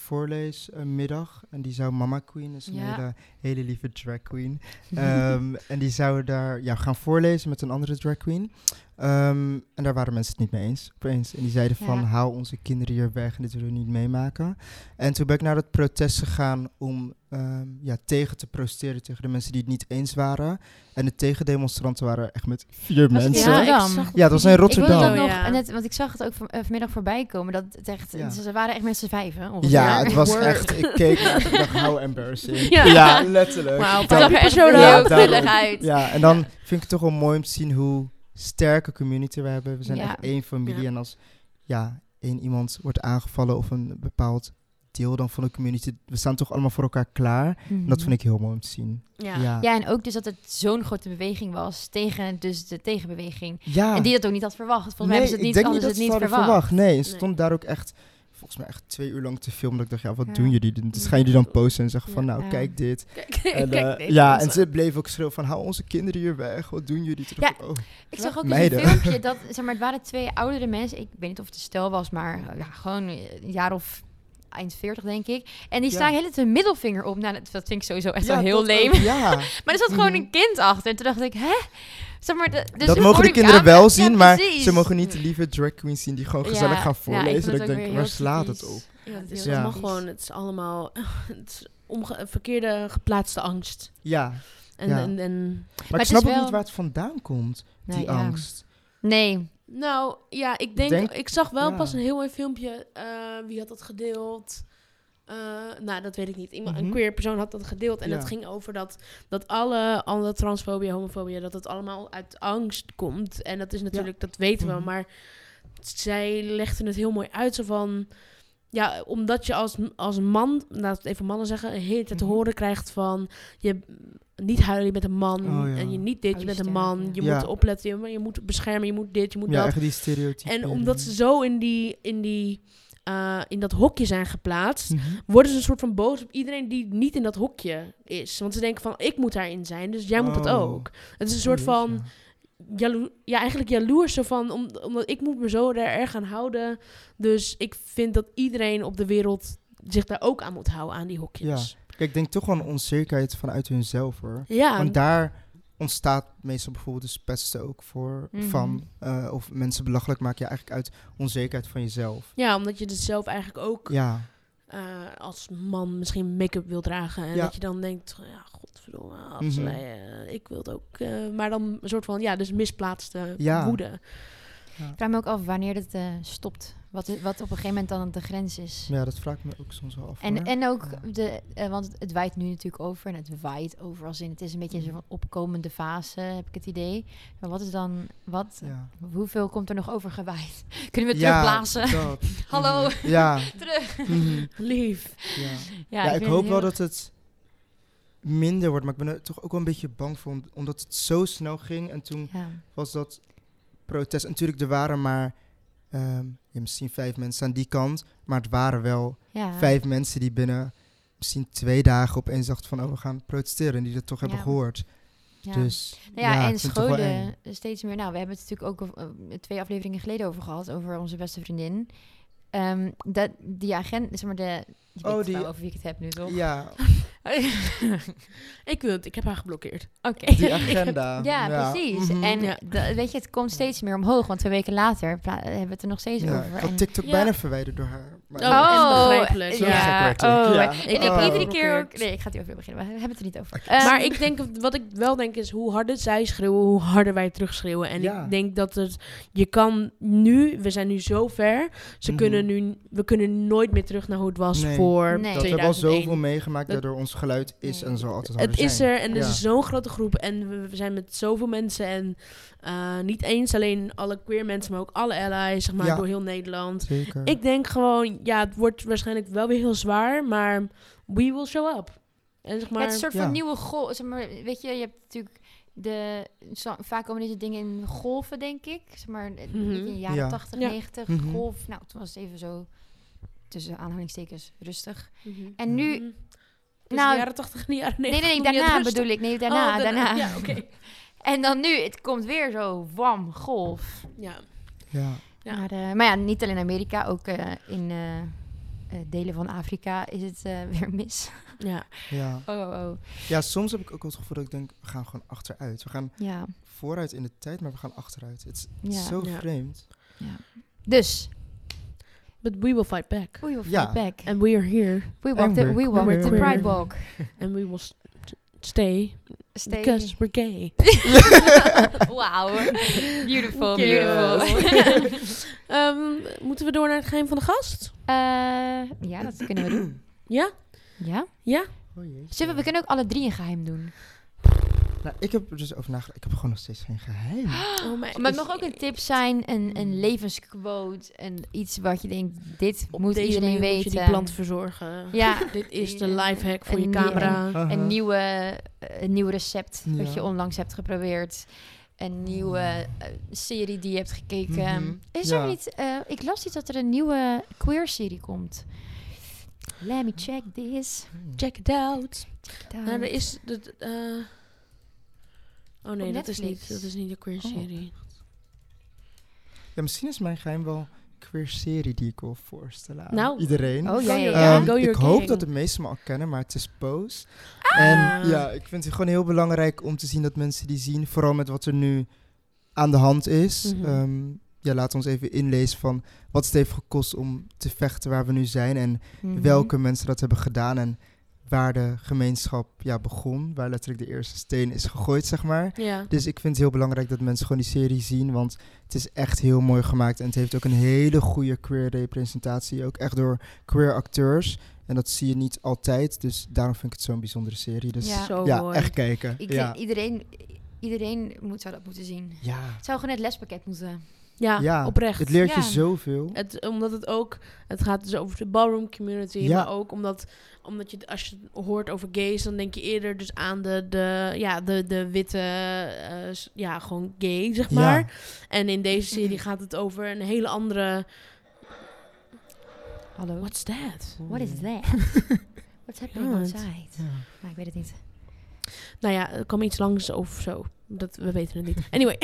[SPEAKER 4] voorleesmiddag. En die zou Mama Queen, is een
[SPEAKER 3] Ja.
[SPEAKER 4] hele, hele lieve drag queen. Ehm, en die zou daar ja, gaan voorlezen met een andere drag queen. Ehm, en daar waren mensen het niet mee eens. Opeens. En die zeiden van,
[SPEAKER 3] Ja.
[SPEAKER 4] haal onze kinderen hier weg en dit willen we niet meemaken. En toen ben ik naar dat protest gegaan om ehm, ja, tegen te protesteren tegen de mensen die het niet eens waren. En de tegendemonstranten waren echt met vier
[SPEAKER 3] Was het in
[SPEAKER 4] mensen.
[SPEAKER 3] Rotterdam?
[SPEAKER 4] Ja, dat was in
[SPEAKER 3] Ik wilde
[SPEAKER 4] Rotterdam.
[SPEAKER 3] dat
[SPEAKER 2] Oh,
[SPEAKER 3] nog,
[SPEAKER 2] ja.
[SPEAKER 3] en het, want ik zag het ook van, eh, vanmiddag voorbij komen. Dat het echt,
[SPEAKER 4] Ja.
[SPEAKER 3] Ze waren echt met z'n vijven. ongeveer.
[SPEAKER 4] Ja, het was
[SPEAKER 2] Word.
[SPEAKER 4] echt. Ik keek naar en dacht, how embarrassing.
[SPEAKER 3] Ja.
[SPEAKER 4] Ja, letterlijk.
[SPEAKER 2] Wauw,
[SPEAKER 3] Het
[SPEAKER 4] Ik
[SPEAKER 3] zag
[SPEAKER 4] dacht-
[SPEAKER 3] er echt
[SPEAKER 2] Persoon
[SPEAKER 3] heel
[SPEAKER 4] ook.
[SPEAKER 3] knullig
[SPEAKER 4] Ja,
[SPEAKER 3] uit.
[SPEAKER 4] ja, en dan vind ik het toch wel mooi om te zien hoe sterke community we hebben. We zijn
[SPEAKER 3] Ja.
[SPEAKER 4] echt één familie.
[SPEAKER 2] Ja.
[SPEAKER 4] En als ja, één iemand wordt aangevallen of een bepaald deel dan van de community, we staan toch allemaal voor elkaar klaar. En dat vond ik heel mooi om te zien.
[SPEAKER 2] Ja.
[SPEAKER 4] Ja, ja.
[SPEAKER 3] Mm-hmm. Mhm. Ja, en ook dus dat het zo'n grote beweging was tegen dus de tegenbeweging. En die dat ook niet had verwacht. Volgens mij
[SPEAKER 4] Nee,
[SPEAKER 3] hebben ze het
[SPEAKER 4] ik
[SPEAKER 3] niet,
[SPEAKER 4] denk
[SPEAKER 3] hadden ze
[SPEAKER 4] niet dat
[SPEAKER 3] het
[SPEAKER 4] ze
[SPEAKER 3] niet
[SPEAKER 4] hadden
[SPEAKER 3] verwacht.
[SPEAKER 4] Nee, en
[SPEAKER 2] Nee.
[SPEAKER 4] stond daar ook echt, volgens mij echt twee uur lang te filmen. Dat ik dacht, ja, wat
[SPEAKER 3] Ja.
[SPEAKER 4] doen jullie? Dus gaan jullie dan posten en zeggen van,
[SPEAKER 2] Ja.
[SPEAKER 4] nou,
[SPEAKER 3] Ja.
[SPEAKER 4] kijk dit.
[SPEAKER 2] Kijk,
[SPEAKER 4] En,
[SPEAKER 2] kijk,
[SPEAKER 4] eh,
[SPEAKER 2] nee,
[SPEAKER 4] ja,
[SPEAKER 2] dat
[SPEAKER 4] en
[SPEAKER 2] is-
[SPEAKER 4] ze bleef ook schreeuwen van, hou onze kinderen hier weg. Wat doen jullie? Toen dacht ik, oh.
[SPEAKER 3] Ik zag ook in
[SPEAKER 4] Meiden.
[SPEAKER 3] een filmpje dat, zeg maar, het waren twee oudere mensen. Ik weet niet of het een stel was, maar eh, ja, gewoon een jaar of eind 40, denk ik. En die
[SPEAKER 4] Ja.
[SPEAKER 3] staan heel hun middelvinger op. Nou, dat, dat vind ik sowieso echt
[SPEAKER 4] Ja,
[SPEAKER 3] wel heel Dus
[SPEAKER 4] dat ook,
[SPEAKER 3] leem.
[SPEAKER 4] Ja,
[SPEAKER 3] Maar er zat gewoon een kind achter. En toen dacht ik, hè? Zeg maar, de- dus
[SPEAKER 4] Mhm.
[SPEAKER 3] toen
[SPEAKER 4] dat mogen
[SPEAKER 3] hoorde
[SPEAKER 4] de
[SPEAKER 3] ik
[SPEAKER 4] kinderen
[SPEAKER 3] aan-
[SPEAKER 4] wel
[SPEAKER 3] Ja,
[SPEAKER 4] zien, maar
[SPEAKER 3] precies.
[SPEAKER 4] ze mogen niet de lieve drag queens zien die gewoon
[SPEAKER 3] Ja,
[SPEAKER 4] gezellig gaan
[SPEAKER 3] ja, ik vond
[SPEAKER 4] voorlezen.
[SPEAKER 3] het ook
[SPEAKER 4] dat ik
[SPEAKER 3] weer
[SPEAKER 4] denk,
[SPEAKER 3] heel
[SPEAKER 4] waar slaat het
[SPEAKER 3] typisch.
[SPEAKER 4] op?
[SPEAKER 2] Ja, dus
[SPEAKER 4] Ja.
[SPEAKER 2] dat mag gewoon. Het is allemaal het is omge- verkeerde geplaatste angst.
[SPEAKER 4] Ja,
[SPEAKER 2] En,
[SPEAKER 4] Ja.
[SPEAKER 2] en, en,
[SPEAKER 4] maar,
[SPEAKER 3] het
[SPEAKER 4] ik
[SPEAKER 3] is
[SPEAKER 4] snap ook
[SPEAKER 3] wel-
[SPEAKER 4] niet waar het vandaan komt, die
[SPEAKER 3] Nou, ja.
[SPEAKER 4] angst.
[SPEAKER 3] Nee.
[SPEAKER 2] nou ja, ik denk,
[SPEAKER 4] Denk-
[SPEAKER 2] ik zag wel
[SPEAKER 4] ja.
[SPEAKER 2] pas een heel mooi filmpje. eh, wie had dat gedeeld? Eh, nou, dat weet ik niet. Iemand, Een
[SPEAKER 4] Mhm.
[SPEAKER 2] queer persoon had dat gedeeld. En
[SPEAKER 4] Ja.
[SPEAKER 2] dat ging over dat, dat alle, alle transfobie, homofobie, dat het allemaal uit angst komt. En dat is natuurlijk, dat weten we.
[SPEAKER 4] Mhm.
[SPEAKER 2] Maar zij legden het heel mooi uit. Zo van, ja, omdat je als, als man, laten we het even mannen zeggen, een hele tijd te
[SPEAKER 4] Mhm.
[SPEAKER 2] horen krijgt van je niet huilen, je bent een man.
[SPEAKER 4] Oh, ja.
[SPEAKER 2] En je niet dit, je bent een
[SPEAKER 3] Huissterk, ja.
[SPEAKER 2] man. Je
[SPEAKER 4] Ja.
[SPEAKER 2] moet opletten, je, moet- je moet beschermen, je moet dit, je moet
[SPEAKER 4] Ja,
[SPEAKER 2] dat.
[SPEAKER 4] echt die stereotypen.
[SPEAKER 2] En omdat ze zo in die, in die, eh, in dat hokje zijn geplaatst,
[SPEAKER 4] Mhm.
[SPEAKER 2] worden ze een soort van boos op iedereen die niet in dat hokje is. Want ze denken van, ik moet daarin zijn, dus jij moet dat
[SPEAKER 4] Oh.
[SPEAKER 2] ook. Het is een soort van jalo ja, eigenlijk jaloers. Zo van, om, omdat ik moet me zo daar erg aan houden. Dus ik vind dat iedereen op de wereld zich daar ook aan moet houden, aan die hokjes.
[SPEAKER 4] Kijk, ik denk toch wel een onzekerheid vanuit hunzelf hoor.
[SPEAKER 2] Ja,
[SPEAKER 4] Want daar ontstaat meestal bijvoorbeeld de pesten ook voor
[SPEAKER 3] Mhm.
[SPEAKER 4] van. eh, of mensen belachelijk maken je eigenlijk uit onzekerheid van jezelf.
[SPEAKER 2] ja, omdat je dus zelf eigenlijk ook
[SPEAKER 4] Ja,
[SPEAKER 2] eh, als man misschien make-up wil dragen. En
[SPEAKER 4] Ja.
[SPEAKER 2] dat je dan denkt, "Oh ja, godverdomme, als
[SPEAKER 4] Mhm.
[SPEAKER 2] wij, eh, ik wil het ook. eh, maar dan een soort van, ja, dus misplaatste
[SPEAKER 4] Ja.
[SPEAKER 2] woede.
[SPEAKER 3] Ik vraag me ook af wanneer dat eh, stopt. Wat, wat op een gegeven moment dan de grens is.
[SPEAKER 4] ja, dat vraag ik me ook soms wel af.
[SPEAKER 3] En,
[SPEAKER 4] hoor.
[SPEAKER 3] en ook,
[SPEAKER 4] Ja.
[SPEAKER 3] de, eh, want het, het waait nu natuurlijk over. En het waait over als in, het is een beetje een soort van opkomende fase, heb ik het idee. Maar wat is dan, wat,
[SPEAKER 4] ja.
[SPEAKER 3] hoeveel komt er nog over gewaaid? Kunnen we
[SPEAKER 4] Ja,
[SPEAKER 3] terugblazen?
[SPEAKER 4] dat.
[SPEAKER 3] Hallo,
[SPEAKER 4] Mhm. Ja.
[SPEAKER 3] terug.
[SPEAKER 4] mhm.
[SPEAKER 2] Lief.
[SPEAKER 4] ja.
[SPEAKER 3] Ja,
[SPEAKER 4] ja,
[SPEAKER 3] vind
[SPEAKER 4] ik
[SPEAKER 3] het
[SPEAKER 4] hoop
[SPEAKER 3] heel-
[SPEAKER 4] wel dat het minder wordt, maar ik ben er toch ook wel een beetje bang voor, om- omdat het zo snel ging. En toen
[SPEAKER 3] Ja.
[SPEAKER 4] was dat protest. En natuurlijk, er waren maar ehm, ja, misschien vijf mensen aan die kant, maar het waren wel
[SPEAKER 3] Ja.
[SPEAKER 4] vijf mensen die binnen misschien twee dagen opeens dachten van, oh, we gaan protesteren. En die dat toch hebben
[SPEAKER 3] Ja.
[SPEAKER 4] gehoord.
[SPEAKER 3] Ja.
[SPEAKER 4] Dus
[SPEAKER 3] Nou ja, en
[SPEAKER 4] ik vind het toch wel
[SPEAKER 3] scholen
[SPEAKER 4] eng.
[SPEAKER 3] steeds meer. Nou, we hebben het natuurlijk ook eh, twee afleveringen geleden over gehad, over onze beste vriendin. Ehm, dat, die agent, zeg maar de... Je
[SPEAKER 4] Oh,
[SPEAKER 3] weet
[SPEAKER 4] die-
[SPEAKER 3] wel over wie ik het heb nu, toch?
[SPEAKER 4] Ja,
[SPEAKER 2] ik wil het, ik heb haar geblokkeerd.
[SPEAKER 3] Oké.
[SPEAKER 4] die agenda.
[SPEAKER 3] Ja, precies.
[SPEAKER 4] mhm.
[SPEAKER 3] En
[SPEAKER 2] Ja.
[SPEAKER 3] da- weet je, het komt steeds meer omhoog, want twee weken later pla- eh, hebben we het er nog steeds
[SPEAKER 4] Ja,
[SPEAKER 3] over.
[SPEAKER 4] ik
[SPEAKER 3] en-
[SPEAKER 4] had TikTok
[SPEAKER 2] Ja.
[SPEAKER 4] bijna verwijderd door haar. maar-
[SPEAKER 2] Oh, en begrijpelijk.
[SPEAKER 4] Zo
[SPEAKER 3] ja.
[SPEAKER 4] gek werd ik.
[SPEAKER 3] oh,
[SPEAKER 4] Ja.
[SPEAKER 3] maar Ik
[SPEAKER 2] Oh.
[SPEAKER 3] heb iedere keer ook...
[SPEAKER 2] Geblokkeerd.
[SPEAKER 3] Nee, ik ga het niet over beginnen, maar we hebben het er niet over.
[SPEAKER 2] Eh,
[SPEAKER 3] Ehm,
[SPEAKER 2] maar ik denk, wat ik wel denk is, hoe harder zij schreeuwen, hoe harder wij terugschreeuwen. En
[SPEAKER 4] Ja.
[SPEAKER 2] ik denk dat het, je kan nu, we zijn nu zo ver, ze
[SPEAKER 4] Mhm.
[SPEAKER 2] kunnen nu, we kunnen nooit meer terug naar hoe het was
[SPEAKER 4] Nee.
[SPEAKER 2] voor
[SPEAKER 3] Nee.
[SPEAKER 4] Dat we
[SPEAKER 2] 2001.
[SPEAKER 4] hebben al zoveel meegemaakt
[SPEAKER 2] Dat-
[SPEAKER 4] daardoor ons geluid is
[SPEAKER 3] Nee.
[SPEAKER 4] en zal altijd harder
[SPEAKER 2] Het is
[SPEAKER 4] zijn.
[SPEAKER 2] er en er
[SPEAKER 4] Ja.
[SPEAKER 2] is zo'n grote groep en we, we zijn met zoveel mensen en eh, niet eens alleen alle queer mensen, maar ook alle allies, zeg maar,
[SPEAKER 4] Ja.
[SPEAKER 2] door heel Nederland.
[SPEAKER 4] Zeker.
[SPEAKER 2] Ik denk gewoon, ja, het wordt waarschijnlijk wel weer heel zwaar, maar we will show up. En zeg
[SPEAKER 3] Ja,
[SPEAKER 2] maar,
[SPEAKER 3] het is een soort
[SPEAKER 4] Ja.
[SPEAKER 3] van nieuwe golf. Zeg maar, weet je, je hebt natuurlijk de... zo- vaak komen deze dingen in golven, denk ik. Zeg maar, eh,
[SPEAKER 2] Mhm.
[SPEAKER 3] in de jaren
[SPEAKER 4] Ja.
[SPEAKER 3] 80,
[SPEAKER 2] Ja.
[SPEAKER 3] 90,
[SPEAKER 4] Mhm.
[SPEAKER 3] golf. Nou, toen was het even zo, tussen aanhalingstekens, rustig. En nu...
[SPEAKER 2] Mhm.
[SPEAKER 3] Nou,
[SPEAKER 2] nou, de jaren 80 en de jaren
[SPEAKER 3] Nee, nee,
[SPEAKER 2] 90. toen je
[SPEAKER 3] nee, daarna
[SPEAKER 2] het rustig-
[SPEAKER 3] bedoel ik. Nee, daarna,
[SPEAKER 2] Oh,
[SPEAKER 3] daarna.
[SPEAKER 2] Ja, oké.
[SPEAKER 3] En dan nu, het komt weer zo, wam, golf.
[SPEAKER 2] Ja.
[SPEAKER 4] Ja.
[SPEAKER 2] Ja.
[SPEAKER 3] Maar, eh, maar ja, niet alleen Amerika, ook eh, in eh, eh, delen van Afrika is het eh, weer mis.
[SPEAKER 2] Ja.
[SPEAKER 4] Ja.
[SPEAKER 3] Oh, oh, oh.
[SPEAKER 4] ja, soms heb ik ook wel het gevoel dat ik denk, we gaan gewoon achteruit. We gaan
[SPEAKER 3] Ja,
[SPEAKER 4] vooruit in de tijd, maar we gaan achteruit. Het is
[SPEAKER 3] ja.
[SPEAKER 4] zo
[SPEAKER 2] Ja.
[SPEAKER 4] vreemd.
[SPEAKER 3] Dus,
[SPEAKER 2] But we will fight back.
[SPEAKER 3] we will fight
[SPEAKER 4] Ja.
[SPEAKER 3] back.
[SPEAKER 2] And we are here.
[SPEAKER 3] We walk the,
[SPEAKER 4] we're
[SPEAKER 3] we walk the
[SPEAKER 2] queer.
[SPEAKER 3] pride walk.
[SPEAKER 2] And we will st- stay,
[SPEAKER 3] Stay.
[SPEAKER 2] because we're gay.
[SPEAKER 3] Wauw. Beautiful,
[SPEAKER 2] Yes.
[SPEAKER 3] beautiful.
[SPEAKER 2] Ehm, moeten we door naar het geheim van de gast?
[SPEAKER 3] Eh, ja, dat kunnen we doen.
[SPEAKER 2] Ja?
[SPEAKER 3] Ja?
[SPEAKER 2] Ja?
[SPEAKER 4] Oh, jeetje.
[SPEAKER 3] Zullen we, we kunnen ook alle drie een geheim doen.
[SPEAKER 4] Nou, ik heb er dus over nagedacht. Ik heb gewoon nog steeds geen geheim.
[SPEAKER 2] Oh, mijn-
[SPEAKER 3] Maar het mag ook een tip zijn, een, een levensquote, en iets wat je denkt, dit
[SPEAKER 2] Mm. Op
[SPEAKER 3] moet
[SPEAKER 2] deze
[SPEAKER 3] iedereen
[SPEAKER 2] manier
[SPEAKER 3] weten.
[SPEAKER 2] moet je die plant verzorgen.
[SPEAKER 3] Ja,
[SPEAKER 2] Dit is de
[SPEAKER 3] En-
[SPEAKER 2] lifehack voor
[SPEAKER 3] en
[SPEAKER 2] je
[SPEAKER 3] die-
[SPEAKER 2] camera.
[SPEAKER 4] Aha.
[SPEAKER 3] een, nieuwe, eh, een nieuw recept
[SPEAKER 4] Ja.
[SPEAKER 3] wat je onlangs hebt geprobeerd. Een nieuwe eh, serie die je hebt gekeken.
[SPEAKER 4] Mhm.
[SPEAKER 3] Is
[SPEAKER 4] Ja.
[SPEAKER 3] er niet... eh, ik las iets dat er een nieuwe queer serie komt. Let me check this.
[SPEAKER 2] Check it out.
[SPEAKER 3] Daar.
[SPEAKER 2] Nou, er is... Dat, eh, Oh nee, dat is,
[SPEAKER 3] Netflix.
[SPEAKER 2] niet, dat is niet de queer
[SPEAKER 4] Oh.
[SPEAKER 2] serie.
[SPEAKER 4] Ja, misschien is mijn geheim wel een queer serie die ik wil voorstellen aan
[SPEAKER 2] Nou.
[SPEAKER 4] iedereen.
[SPEAKER 3] Oh, ja,
[SPEAKER 2] Go
[SPEAKER 3] ja,
[SPEAKER 2] your-
[SPEAKER 3] ja.
[SPEAKER 4] Ehm,
[SPEAKER 2] Go Your
[SPEAKER 4] ik hoop
[SPEAKER 2] Gang.
[SPEAKER 4] dat de meesten me al kennen, maar het is Pose.
[SPEAKER 2] Ah.
[SPEAKER 4] En ja, ik vind het gewoon heel belangrijk om te zien dat mensen die zien, vooral met wat er nu aan de hand is.
[SPEAKER 2] Mhm.
[SPEAKER 4] Ehm, ja, laat ons even inlezen van wat het heeft gekost om te vechten waar we nu zijn en
[SPEAKER 3] Mhm.
[SPEAKER 4] welke mensen dat hebben gedaan en waar de gemeenschap ja, begon, waar letterlijk de eerste steen is gegooid, zeg maar.
[SPEAKER 2] Ja.
[SPEAKER 4] Dus ik vind het heel belangrijk dat mensen gewoon die serie zien, want het is echt heel mooi gemaakt en het heeft ook een hele goede queer representatie, ook echt door queer acteurs. En dat zie je niet altijd, dus daarom vind ik het zo'n bijzondere serie. Dus
[SPEAKER 3] Ja.
[SPEAKER 4] ja,
[SPEAKER 2] Zo oh, mooi.
[SPEAKER 4] echt kijken.
[SPEAKER 3] Ik
[SPEAKER 4] ja.
[SPEAKER 3] vind iedereen, iedereen moet, zou dat moeten zien.
[SPEAKER 4] ja.
[SPEAKER 3] Het zou gewoon het lespakket moeten.
[SPEAKER 2] Ja,
[SPEAKER 4] Ja,
[SPEAKER 2] oprecht.
[SPEAKER 4] Het leert je
[SPEAKER 3] Ja.
[SPEAKER 4] zoveel.
[SPEAKER 2] Het, omdat het ook, het gaat dus over de ballroom community,
[SPEAKER 4] Ja.
[SPEAKER 2] maar ook omdat, omdat je, het- als je het hoort over gays, dan denk je eerder dus aan de, de, ja, de, de witte, eh, s- ja, gewoon gay, zeg
[SPEAKER 4] Ja.
[SPEAKER 2] maar. En in deze serie gaat het over een hele andere,
[SPEAKER 3] Hallo.
[SPEAKER 2] what's that?
[SPEAKER 3] What is that? What's happening
[SPEAKER 2] Ja, het-
[SPEAKER 3] outside?
[SPEAKER 4] Ja.
[SPEAKER 3] Maar ik weet het niet.
[SPEAKER 2] Nou ja, er kwam iets langs of zo. Dat, we weten het niet. Anyway,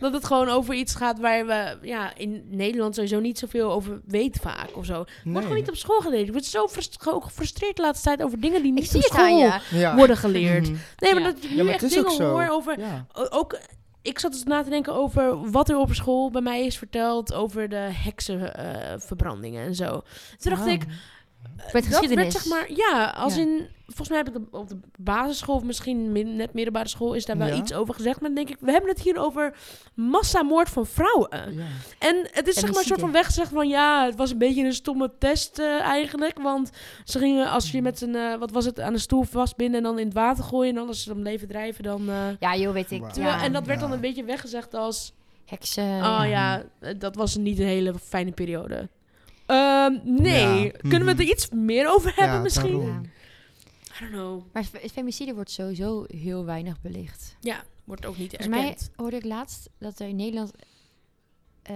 [SPEAKER 2] dat het gewoon over iets gaat waar we ja, in Nederland sowieso niet zoveel over weten vaak of zo. Wordt
[SPEAKER 4] Nee.
[SPEAKER 2] gewoon niet op school geleerd. Ik word zo frust- ge- gefrustreerd de laatste tijd over dingen die
[SPEAKER 3] Ik
[SPEAKER 2] niet op
[SPEAKER 3] zie het aan
[SPEAKER 2] school
[SPEAKER 3] je.
[SPEAKER 4] ja.
[SPEAKER 2] worden geleerd.
[SPEAKER 4] Mhm.
[SPEAKER 2] Nee, maar
[SPEAKER 3] Ja.
[SPEAKER 2] dat ik
[SPEAKER 4] Ja,
[SPEAKER 2] nu
[SPEAKER 4] maar het
[SPEAKER 2] echt
[SPEAKER 4] is ook
[SPEAKER 2] dingen
[SPEAKER 4] zo.
[SPEAKER 2] hoor over...
[SPEAKER 4] Ja.
[SPEAKER 2] o- Ook, ik zat dus na te denken over wat er op school bij mij is verteld over de heksenverbrandingen en zo. Toen dacht ik,
[SPEAKER 3] Met
[SPEAKER 2] dat werd
[SPEAKER 3] geschiedenis.
[SPEAKER 2] zeg maar... Ja, als
[SPEAKER 3] Ja.
[SPEAKER 2] in... Volgens mij heb ik op de basisschool of misschien min- net middelbare school is daar wel
[SPEAKER 4] Ja.
[SPEAKER 2] iets over gezegd. Maar dan denk ik, we hebben het hier over massamoord van vrouwen.
[SPEAKER 4] Ja.
[SPEAKER 2] En het is
[SPEAKER 3] En
[SPEAKER 2] zeg maar een soort
[SPEAKER 3] muziek,
[SPEAKER 2] van weggezegd van ja, het was een beetje een stomme test eh, eigenlijk. Want ze gingen, als
[SPEAKER 3] Hmm.
[SPEAKER 2] je met een, eh, wat was het, aan een stoel vastbinden en dan in het water gooien. En dan als ze dan bleven drijven, dan... eh,
[SPEAKER 3] Ja, joh, weet ik.
[SPEAKER 4] Wauw.
[SPEAKER 2] terwijl-
[SPEAKER 3] Ja.
[SPEAKER 2] en dat werd dan
[SPEAKER 4] Ja.
[SPEAKER 2] een beetje weggezegd als,
[SPEAKER 3] Heksen.
[SPEAKER 2] oh ja, eh, dat was niet een hele fijne periode. Ehm, nee,
[SPEAKER 4] Ja. Mhm.
[SPEAKER 2] kunnen we het er iets meer over hebben
[SPEAKER 4] Ja,
[SPEAKER 2] misschien?
[SPEAKER 4] daarom.
[SPEAKER 3] Ja.
[SPEAKER 2] I don't know.
[SPEAKER 3] Maar fe- femicide wordt sowieso heel weinig belicht.
[SPEAKER 2] Ja, wordt ook niet
[SPEAKER 3] Volgens mij
[SPEAKER 2] erkend.
[SPEAKER 3] hoorde ik laatst dat er in Nederland eh,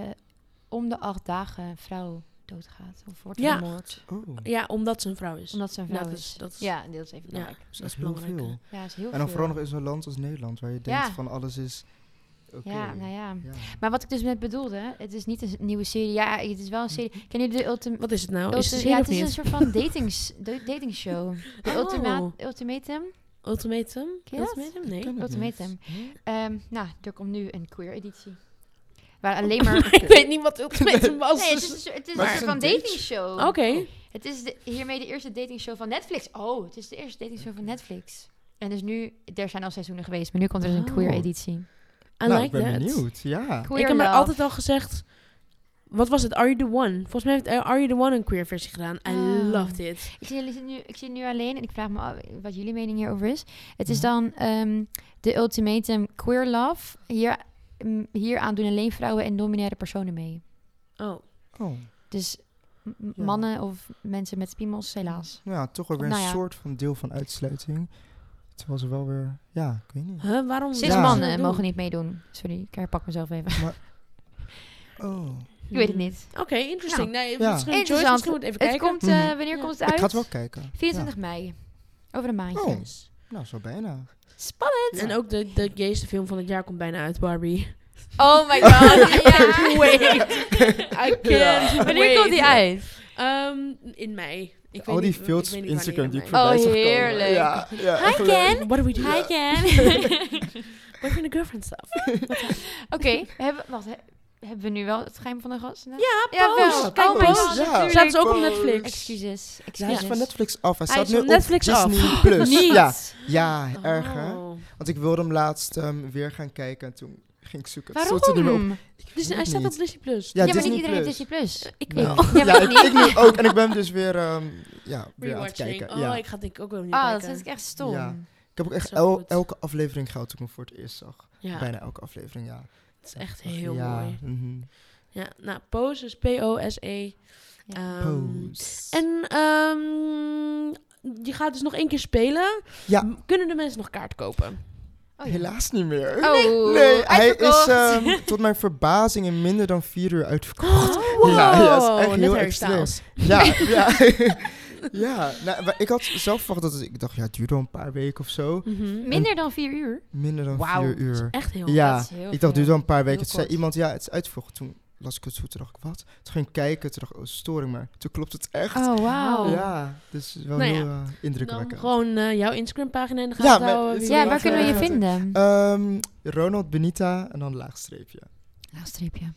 [SPEAKER 3] om de acht dagen een vrouw doodgaat. Of wordt
[SPEAKER 2] Ja.
[SPEAKER 3] vermoord.
[SPEAKER 4] Oh.
[SPEAKER 2] Ja, omdat ze een vrouw is.
[SPEAKER 3] Omdat ze een vrouw
[SPEAKER 2] dat
[SPEAKER 3] is.
[SPEAKER 2] is- dat is-
[SPEAKER 3] Ja, dat is even
[SPEAKER 2] Ja,
[SPEAKER 3] belangrijk.
[SPEAKER 2] dus
[SPEAKER 4] Dat
[SPEAKER 2] dat
[SPEAKER 4] is
[SPEAKER 2] is
[SPEAKER 4] heel
[SPEAKER 2] belangrijk.
[SPEAKER 4] veel.
[SPEAKER 3] Ja, dat is heel
[SPEAKER 4] En dan
[SPEAKER 3] veel.
[SPEAKER 4] vooral nog in zo'n land als Nederland, waar je denkt
[SPEAKER 3] Ja.
[SPEAKER 4] van alles is... oké.
[SPEAKER 3] Ja, nou ja.
[SPEAKER 4] Ja.
[SPEAKER 3] Maar wat ik dus net bedoelde, het is niet een s- nieuwe serie. Ja, het is wel een serie. Ken je de Ultimate...
[SPEAKER 2] Wat is het nou? Is het
[SPEAKER 3] ja,
[SPEAKER 2] ja,
[SPEAKER 3] het is een
[SPEAKER 2] niet?
[SPEAKER 3] soort van datings, de- datingshow. De
[SPEAKER 2] Oh.
[SPEAKER 3] ultima- Ultimatum.
[SPEAKER 2] Ultimatum?
[SPEAKER 3] Ken je dat?
[SPEAKER 2] Ultimatum? Nee.
[SPEAKER 4] Ken ik
[SPEAKER 3] Ultimatum.
[SPEAKER 4] niet. Hm?
[SPEAKER 3] Ehm, nou, er komt nu een queer editie. Waar alleen maar...
[SPEAKER 2] ik weet niet wat ultimatum was.
[SPEAKER 3] Nee, het
[SPEAKER 2] dus-
[SPEAKER 3] is
[SPEAKER 2] Oh.
[SPEAKER 3] een, soort- het is
[SPEAKER 4] Maar
[SPEAKER 3] een
[SPEAKER 4] het
[SPEAKER 3] soort
[SPEAKER 4] is
[SPEAKER 3] van
[SPEAKER 4] een date-
[SPEAKER 3] datingshow.
[SPEAKER 2] Oké.
[SPEAKER 3] Het is de- hiermee de eerste datingshow van Netflix. Oh, het is de eerste datingshow van Netflix. En dus nu, er zijn al seizoenen geweest, maar nu komt er dus een
[SPEAKER 2] Oh.
[SPEAKER 3] queer editie.
[SPEAKER 2] I
[SPEAKER 4] nou,
[SPEAKER 2] like
[SPEAKER 4] ik ben
[SPEAKER 2] that.
[SPEAKER 4] benieuwd, ja.
[SPEAKER 3] Queer
[SPEAKER 2] ik heb me
[SPEAKER 3] love.
[SPEAKER 2] altijd al gezegd... Wat was het? Are You The One? Volgens mij heeft eh, Are You The One een queer versie gedaan. I
[SPEAKER 3] Ah.
[SPEAKER 2] loved it.
[SPEAKER 3] Ik zit, ik zit nu, ik zit nu alleen en ik vraag me af wat jullie mening hierover is. Het is dan ehm, de ultimatum queer love. Hier, mm, hieraan doen alleen vrouwen en non-binaire personen mee.
[SPEAKER 2] Oh.
[SPEAKER 4] Oh,
[SPEAKER 3] Dus m- m-
[SPEAKER 4] Ja.
[SPEAKER 3] mannen of mensen met piemels, helaas.
[SPEAKER 4] nou ja, toch wel weer
[SPEAKER 3] Nou
[SPEAKER 4] een
[SPEAKER 3] ja.
[SPEAKER 4] soort van deel van uitsluiting. Terwijl ze wel weer... Ja, ik weet niet.
[SPEAKER 2] Huh, waarom?
[SPEAKER 3] Cis
[SPEAKER 4] Ja.
[SPEAKER 3] mannen mogen niet meedoen. Sorry, ik herpak mezelf even.
[SPEAKER 4] Oh.
[SPEAKER 3] Ik weet het niet.
[SPEAKER 2] Oké, interesting. Nee,
[SPEAKER 4] Ja.
[SPEAKER 2] misschien Joyce,
[SPEAKER 3] Interessant.
[SPEAKER 2] misschien moet even
[SPEAKER 3] Het
[SPEAKER 2] kijken. Hmm.
[SPEAKER 3] komt, eh,
[SPEAKER 4] Mhm.
[SPEAKER 3] wanneer
[SPEAKER 2] Ja.
[SPEAKER 3] komt het
[SPEAKER 4] Ik
[SPEAKER 3] uit?
[SPEAKER 4] ga het wel kijken.
[SPEAKER 3] 24 mei. Over een maandje.
[SPEAKER 4] Oh. Nou, zo bijna.
[SPEAKER 3] Spannend.
[SPEAKER 4] Ja.
[SPEAKER 2] En ook de, de gayste film van het jaar komt bijna uit, Barbie.
[SPEAKER 3] Oh my god. ja.
[SPEAKER 2] Wait. I can't
[SPEAKER 3] Wanneer komt
[SPEAKER 2] wait.
[SPEAKER 3] die uit?
[SPEAKER 2] Ehm, in mei. Ik
[SPEAKER 4] Al
[SPEAKER 2] weet
[SPEAKER 4] die
[SPEAKER 2] niet-
[SPEAKER 4] filters
[SPEAKER 2] ik weet
[SPEAKER 4] op
[SPEAKER 2] niet wanneer
[SPEAKER 4] Instagram
[SPEAKER 2] in
[SPEAKER 4] die ik
[SPEAKER 2] mei.
[SPEAKER 3] voorbij
[SPEAKER 4] voorbij
[SPEAKER 3] Oh,
[SPEAKER 4] zag komen.
[SPEAKER 3] heerlijk.
[SPEAKER 4] Ja, ja,
[SPEAKER 3] Hi
[SPEAKER 4] geloof-
[SPEAKER 3] Ken!
[SPEAKER 2] What do we do?
[SPEAKER 3] Hi Ken!
[SPEAKER 2] Boyfriend and girlfriend stuff.
[SPEAKER 3] Oké, we hebben, wacht, he- hebben we nu wel het geheim van de gast? Ja,
[SPEAKER 2] Ja,
[SPEAKER 3] wel.
[SPEAKER 2] post.
[SPEAKER 3] Kijk,
[SPEAKER 2] Oh,
[SPEAKER 3] mijn
[SPEAKER 4] post,
[SPEAKER 3] god,
[SPEAKER 4] ja.
[SPEAKER 3] natuurlijk.
[SPEAKER 2] Staat ze ook op
[SPEAKER 4] Boos.
[SPEAKER 2] Netflix?
[SPEAKER 3] Excuses,
[SPEAKER 4] Ja, hij
[SPEAKER 3] excuses.
[SPEAKER 4] is van Netflix af. Hij
[SPEAKER 2] Hij
[SPEAKER 4] staat
[SPEAKER 2] is
[SPEAKER 4] nu
[SPEAKER 2] van
[SPEAKER 4] op
[SPEAKER 2] Netflix af.
[SPEAKER 4] Disney Plus.
[SPEAKER 3] Niet.
[SPEAKER 4] Ja, ja erg hè.
[SPEAKER 2] Oh.
[SPEAKER 4] Want ik wilde hem laatst ehm, weer gaan kijken en toen ging ik zoeken. Het
[SPEAKER 3] Waarom?
[SPEAKER 4] stond er niet meer op. Ik
[SPEAKER 2] Dus
[SPEAKER 4] weet
[SPEAKER 2] hij
[SPEAKER 4] het
[SPEAKER 2] staat op
[SPEAKER 4] niet.
[SPEAKER 2] Disney Plus.
[SPEAKER 3] Ja, maar
[SPEAKER 4] Ja,
[SPEAKER 3] niet
[SPEAKER 4] Disney
[SPEAKER 3] iedereen heeft
[SPEAKER 4] Plus.
[SPEAKER 3] Disney Plus.
[SPEAKER 2] Ik
[SPEAKER 4] Nou,
[SPEAKER 2] weet
[SPEAKER 3] Ja, maar
[SPEAKER 4] ja, ik, ik nu ook. En ik ben hem dus weer, ehm, ja, weer aan het
[SPEAKER 2] Rewatching.
[SPEAKER 4] kijken.
[SPEAKER 2] Oh,
[SPEAKER 4] Ja.
[SPEAKER 2] ik ga denk ik ook wel niet
[SPEAKER 3] Ah, dat
[SPEAKER 2] kijken.
[SPEAKER 3] vind ik echt stom.
[SPEAKER 4] Ja. Ik heb ook echt
[SPEAKER 2] Zo
[SPEAKER 4] el-
[SPEAKER 2] goed.
[SPEAKER 4] elke aflevering gehad toen ik hem voor het eerst zag.
[SPEAKER 2] Ja,
[SPEAKER 4] Bijna elke aflevering, ja.
[SPEAKER 2] het is echt heel
[SPEAKER 4] ja,
[SPEAKER 2] mooi.
[SPEAKER 4] mhm.
[SPEAKER 2] Ja, nou, Pose is P-O-S-E.
[SPEAKER 3] Ja.
[SPEAKER 2] E. Ehm,
[SPEAKER 4] Pose.
[SPEAKER 2] En ehm, je gaat dus nog één keer spelen.
[SPEAKER 4] Ja.
[SPEAKER 2] M- Kunnen de mensen nog kaart kopen?
[SPEAKER 3] Oh, ja.
[SPEAKER 4] Helaas niet meer.
[SPEAKER 3] Oh,
[SPEAKER 4] nee, hij is
[SPEAKER 3] uitverkocht.
[SPEAKER 4] ehm, tot mijn verbazing in minder dan vier uur uitverkocht.
[SPEAKER 2] Oh, Wow,
[SPEAKER 4] Ja, ja, is echt
[SPEAKER 2] net
[SPEAKER 4] heel
[SPEAKER 2] Harry
[SPEAKER 4] extreem.
[SPEAKER 2] Styles.
[SPEAKER 4] Ja, ja. ja nou, maar ik had zelf verwacht dat het, ik dacht, ja, het duurt wel een paar weken of zo.
[SPEAKER 2] Mhm.
[SPEAKER 3] Minder dan vier uur.
[SPEAKER 4] Minder dan
[SPEAKER 3] Wauw,
[SPEAKER 4] vier
[SPEAKER 3] dat is
[SPEAKER 4] uur.
[SPEAKER 2] Echt heel
[SPEAKER 4] Ja,
[SPEAKER 3] Dat is heel
[SPEAKER 4] Ik dacht, het duurt wel een paar weken.
[SPEAKER 3] Heel
[SPEAKER 4] Toen zei
[SPEAKER 3] kort.
[SPEAKER 4] iemand, ja, het is uitverkocht. Toen las ik het zo, toen dacht ik, wat? Toen ging ik kijken, toen dacht ik, oh, storing maar. Toen klopt het echt.
[SPEAKER 3] Oh, wauw. Ja,
[SPEAKER 4] Ja, dus wel
[SPEAKER 2] Nou ja,
[SPEAKER 4] heel eh,
[SPEAKER 2] Dan
[SPEAKER 4] indrukwekkend.
[SPEAKER 2] gewoon eh, jouw Instagram pagina in de
[SPEAKER 4] Ja,
[SPEAKER 2] gaten
[SPEAKER 4] maar
[SPEAKER 2] houden.
[SPEAKER 4] het
[SPEAKER 2] wie
[SPEAKER 4] is wel
[SPEAKER 3] waar
[SPEAKER 2] weet.
[SPEAKER 3] kunnen we je
[SPEAKER 4] Ja.
[SPEAKER 3] vinden?
[SPEAKER 4] Ehm, Ronald Benita en dan laagstreepje.
[SPEAKER 3] Laagstreepje.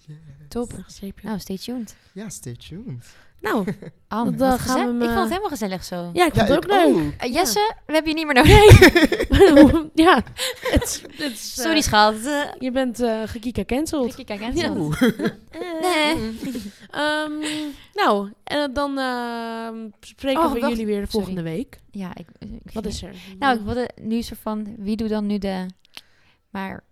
[SPEAKER 3] Top.
[SPEAKER 2] Streepje.
[SPEAKER 3] Nou, stay tuned.
[SPEAKER 4] Ja, stay tuned.
[SPEAKER 2] Nou,
[SPEAKER 3] Anne,
[SPEAKER 2] Dat, eh, gaan we
[SPEAKER 3] wat gezellig.
[SPEAKER 2] hem,
[SPEAKER 3] Ik
[SPEAKER 2] eh,
[SPEAKER 3] vond het helemaal gezellig zo.
[SPEAKER 2] ja, ik
[SPEAKER 4] Ja,
[SPEAKER 2] vond het ook leuk.
[SPEAKER 3] Eh, Jesse, we hebben je niet meer nodig.
[SPEAKER 2] ja, het, is- het is, eh,
[SPEAKER 3] Sorry, schat. Eh,
[SPEAKER 2] Je bent eh gekika cancelled.
[SPEAKER 3] ik kijk aan
[SPEAKER 2] Ja.
[SPEAKER 3] zo.
[SPEAKER 2] Eh. Ehm, nou, en dan ehm, spreken
[SPEAKER 3] Oh,
[SPEAKER 2] we
[SPEAKER 3] wacht.
[SPEAKER 2] jullie weer de
[SPEAKER 3] Sorry.
[SPEAKER 2] volgende week.
[SPEAKER 3] Ja, ik, ik
[SPEAKER 2] Wat is er?
[SPEAKER 3] Nou, ik wilde nu soort van, wie doet dan nu de... Maar,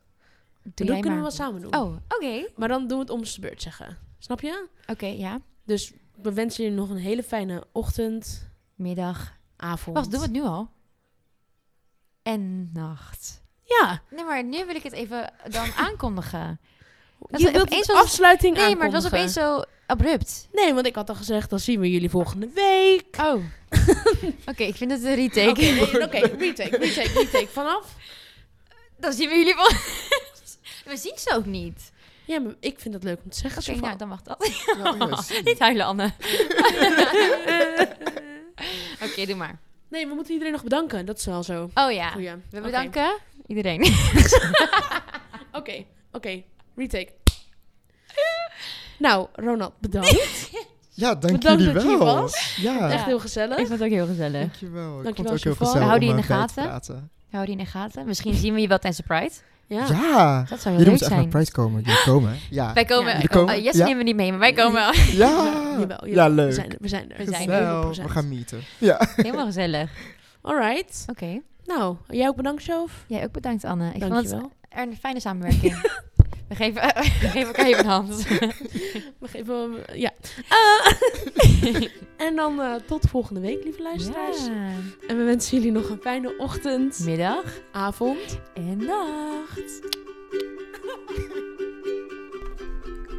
[SPEAKER 3] doe
[SPEAKER 2] dat
[SPEAKER 3] jij
[SPEAKER 2] kunnen we
[SPEAKER 3] maar.
[SPEAKER 2] wel samen doen.
[SPEAKER 3] Oh, oké.
[SPEAKER 2] Maar dan doen we het om de beurt zeggen. Snap je?
[SPEAKER 3] Oké, ja.
[SPEAKER 2] Dus we wensen jullie nog een hele fijne ochtend,
[SPEAKER 3] Middag.
[SPEAKER 2] avond.
[SPEAKER 3] Wacht, doen we het nu al? En nacht.
[SPEAKER 2] Ja.
[SPEAKER 3] Nee, maar nu wil ik het even dan aankondigen. Dat
[SPEAKER 2] Je
[SPEAKER 3] we
[SPEAKER 2] wilt
[SPEAKER 3] opeens
[SPEAKER 2] de
[SPEAKER 3] was-
[SPEAKER 2] afsluiting
[SPEAKER 3] Nee, maar het was opeens
[SPEAKER 2] aankondigen.
[SPEAKER 3] zo abrupt.
[SPEAKER 2] Nee, want ik had al gezegd, dan zien we jullie volgende week.
[SPEAKER 3] Oh. oké, ik vind het een retake.
[SPEAKER 2] Oké, nee, oké, retake, retake, retake. Vanaf?
[SPEAKER 3] Dan zien we jullie wel. we zien ze ook niet.
[SPEAKER 2] Ja, maar ik vind het leuk om te zeggen.
[SPEAKER 3] Oké,
[SPEAKER 2] Sofa.
[SPEAKER 3] nou, dan mag dat.
[SPEAKER 4] Ja, yes.
[SPEAKER 3] niet huilen, Anne. oké, doe maar.
[SPEAKER 2] Nee, we moeten iedereen nog bedanken. Dat is wel zo.
[SPEAKER 3] Oh ja,
[SPEAKER 2] Goeie.
[SPEAKER 3] we
[SPEAKER 2] Oké.
[SPEAKER 3] bedanken iedereen.
[SPEAKER 2] Oké, oké. Retake. nou, Ronald, bedankt.
[SPEAKER 4] Ja, dank
[SPEAKER 2] Bedankt
[SPEAKER 4] jullie
[SPEAKER 2] dat je
[SPEAKER 4] wel.
[SPEAKER 2] hier was.
[SPEAKER 4] Ja,
[SPEAKER 2] Echt heel gezellig.
[SPEAKER 3] Ik vond het ook heel gezellig.
[SPEAKER 4] dankjewel. Ik vond
[SPEAKER 2] Dankjewel,
[SPEAKER 4] het ook heel
[SPEAKER 2] Siobhan.
[SPEAKER 4] gezellig
[SPEAKER 3] Hou die
[SPEAKER 4] om,
[SPEAKER 3] in de
[SPEAKER 4] eh, bij te
[SPEAKER 3] gaten.
[SPEAKER 4] praten.
[SPEAKER 3] Hou die in de gaten. Misschien zien we je wel tijdens de Pride.
[SPEAKER 2] Ja.
[SPEAKER 4] Ja,
[SPEAKER 3] Dat zou heel
[SPEAKER 4] jullie
[SPEAKER 3] leuk
[SPEAKER 4] moeten echt naar
[SPEAKER 3] zijn.
[SPEAKER 4] Pride komen. Jullie komen, hè? Ja.
[SPEAKER 3] Wij komen.
[SPEAKER 2] Ja,
[SPEAKER 3] Ja,
[SPEAKER 4] jullie komen?
[SPEAKER 3] Jesse
[SPEAKER 4] Ja.
[SPEAKER 3] nemen we niet mee, maar wij komen wel.
[SPEAKER 4] Ja,
[SPEAKER 2] Jawel,
[SPEAKER 4] ja
[SPEAKER 2] jawel. We
[SPEAKER 4] leuk.
[SPEAKER 2] zijn er. We zijn er.
[SPEAKER 3] We zijn er.
[SPEAKER 4] Gezellig.
[SPEAKER 2] 100%.
[SPEAKER 4] We gaan meeten. Ja.
[SPEAKER 3] Helemaal gezellig.
[SPEAKER 2] All right.
[SPEAKER 3] Oké.
[SPEAKER 2] Nou, jij ook bedankt, Sjoof.
[SPEAKER 3] Jij ook bedankt, Anne. Ik vond
[SPEAKER 2] Dankjewel.
[SPEAKER 3] het er een fijne samenwerking. we, geven, we geven elkaar even een hand.
[SPEAKER 2] We geven hem... Ja. Eh, en dan eh, tot volgende week, lieve luisteraars.
[SPEAKER 3] Ja.
[SPEAKER 2] En we wensen jullie nog een fijne ochtend,
[SPEAKER 3] Middag
[SPEAKER 2] avond.
[SPEAKER 3] en nacht.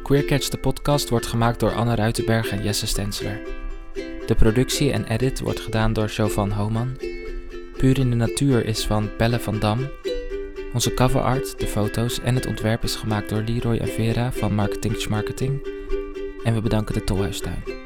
[SPEAKER 1] Queercatch de podcast wordt gemaakt door Anne Ruitenberg en Jesse Stensler. De productie en edit wordt gedaan door Jovan Homan. Puur in de natuur is van Belle van Dam. Onze coverart, de foto's en het ontwerp is gemaakt door Leroy en Vera van Marketing Marketing. En we bedanken de Tolhuistuin.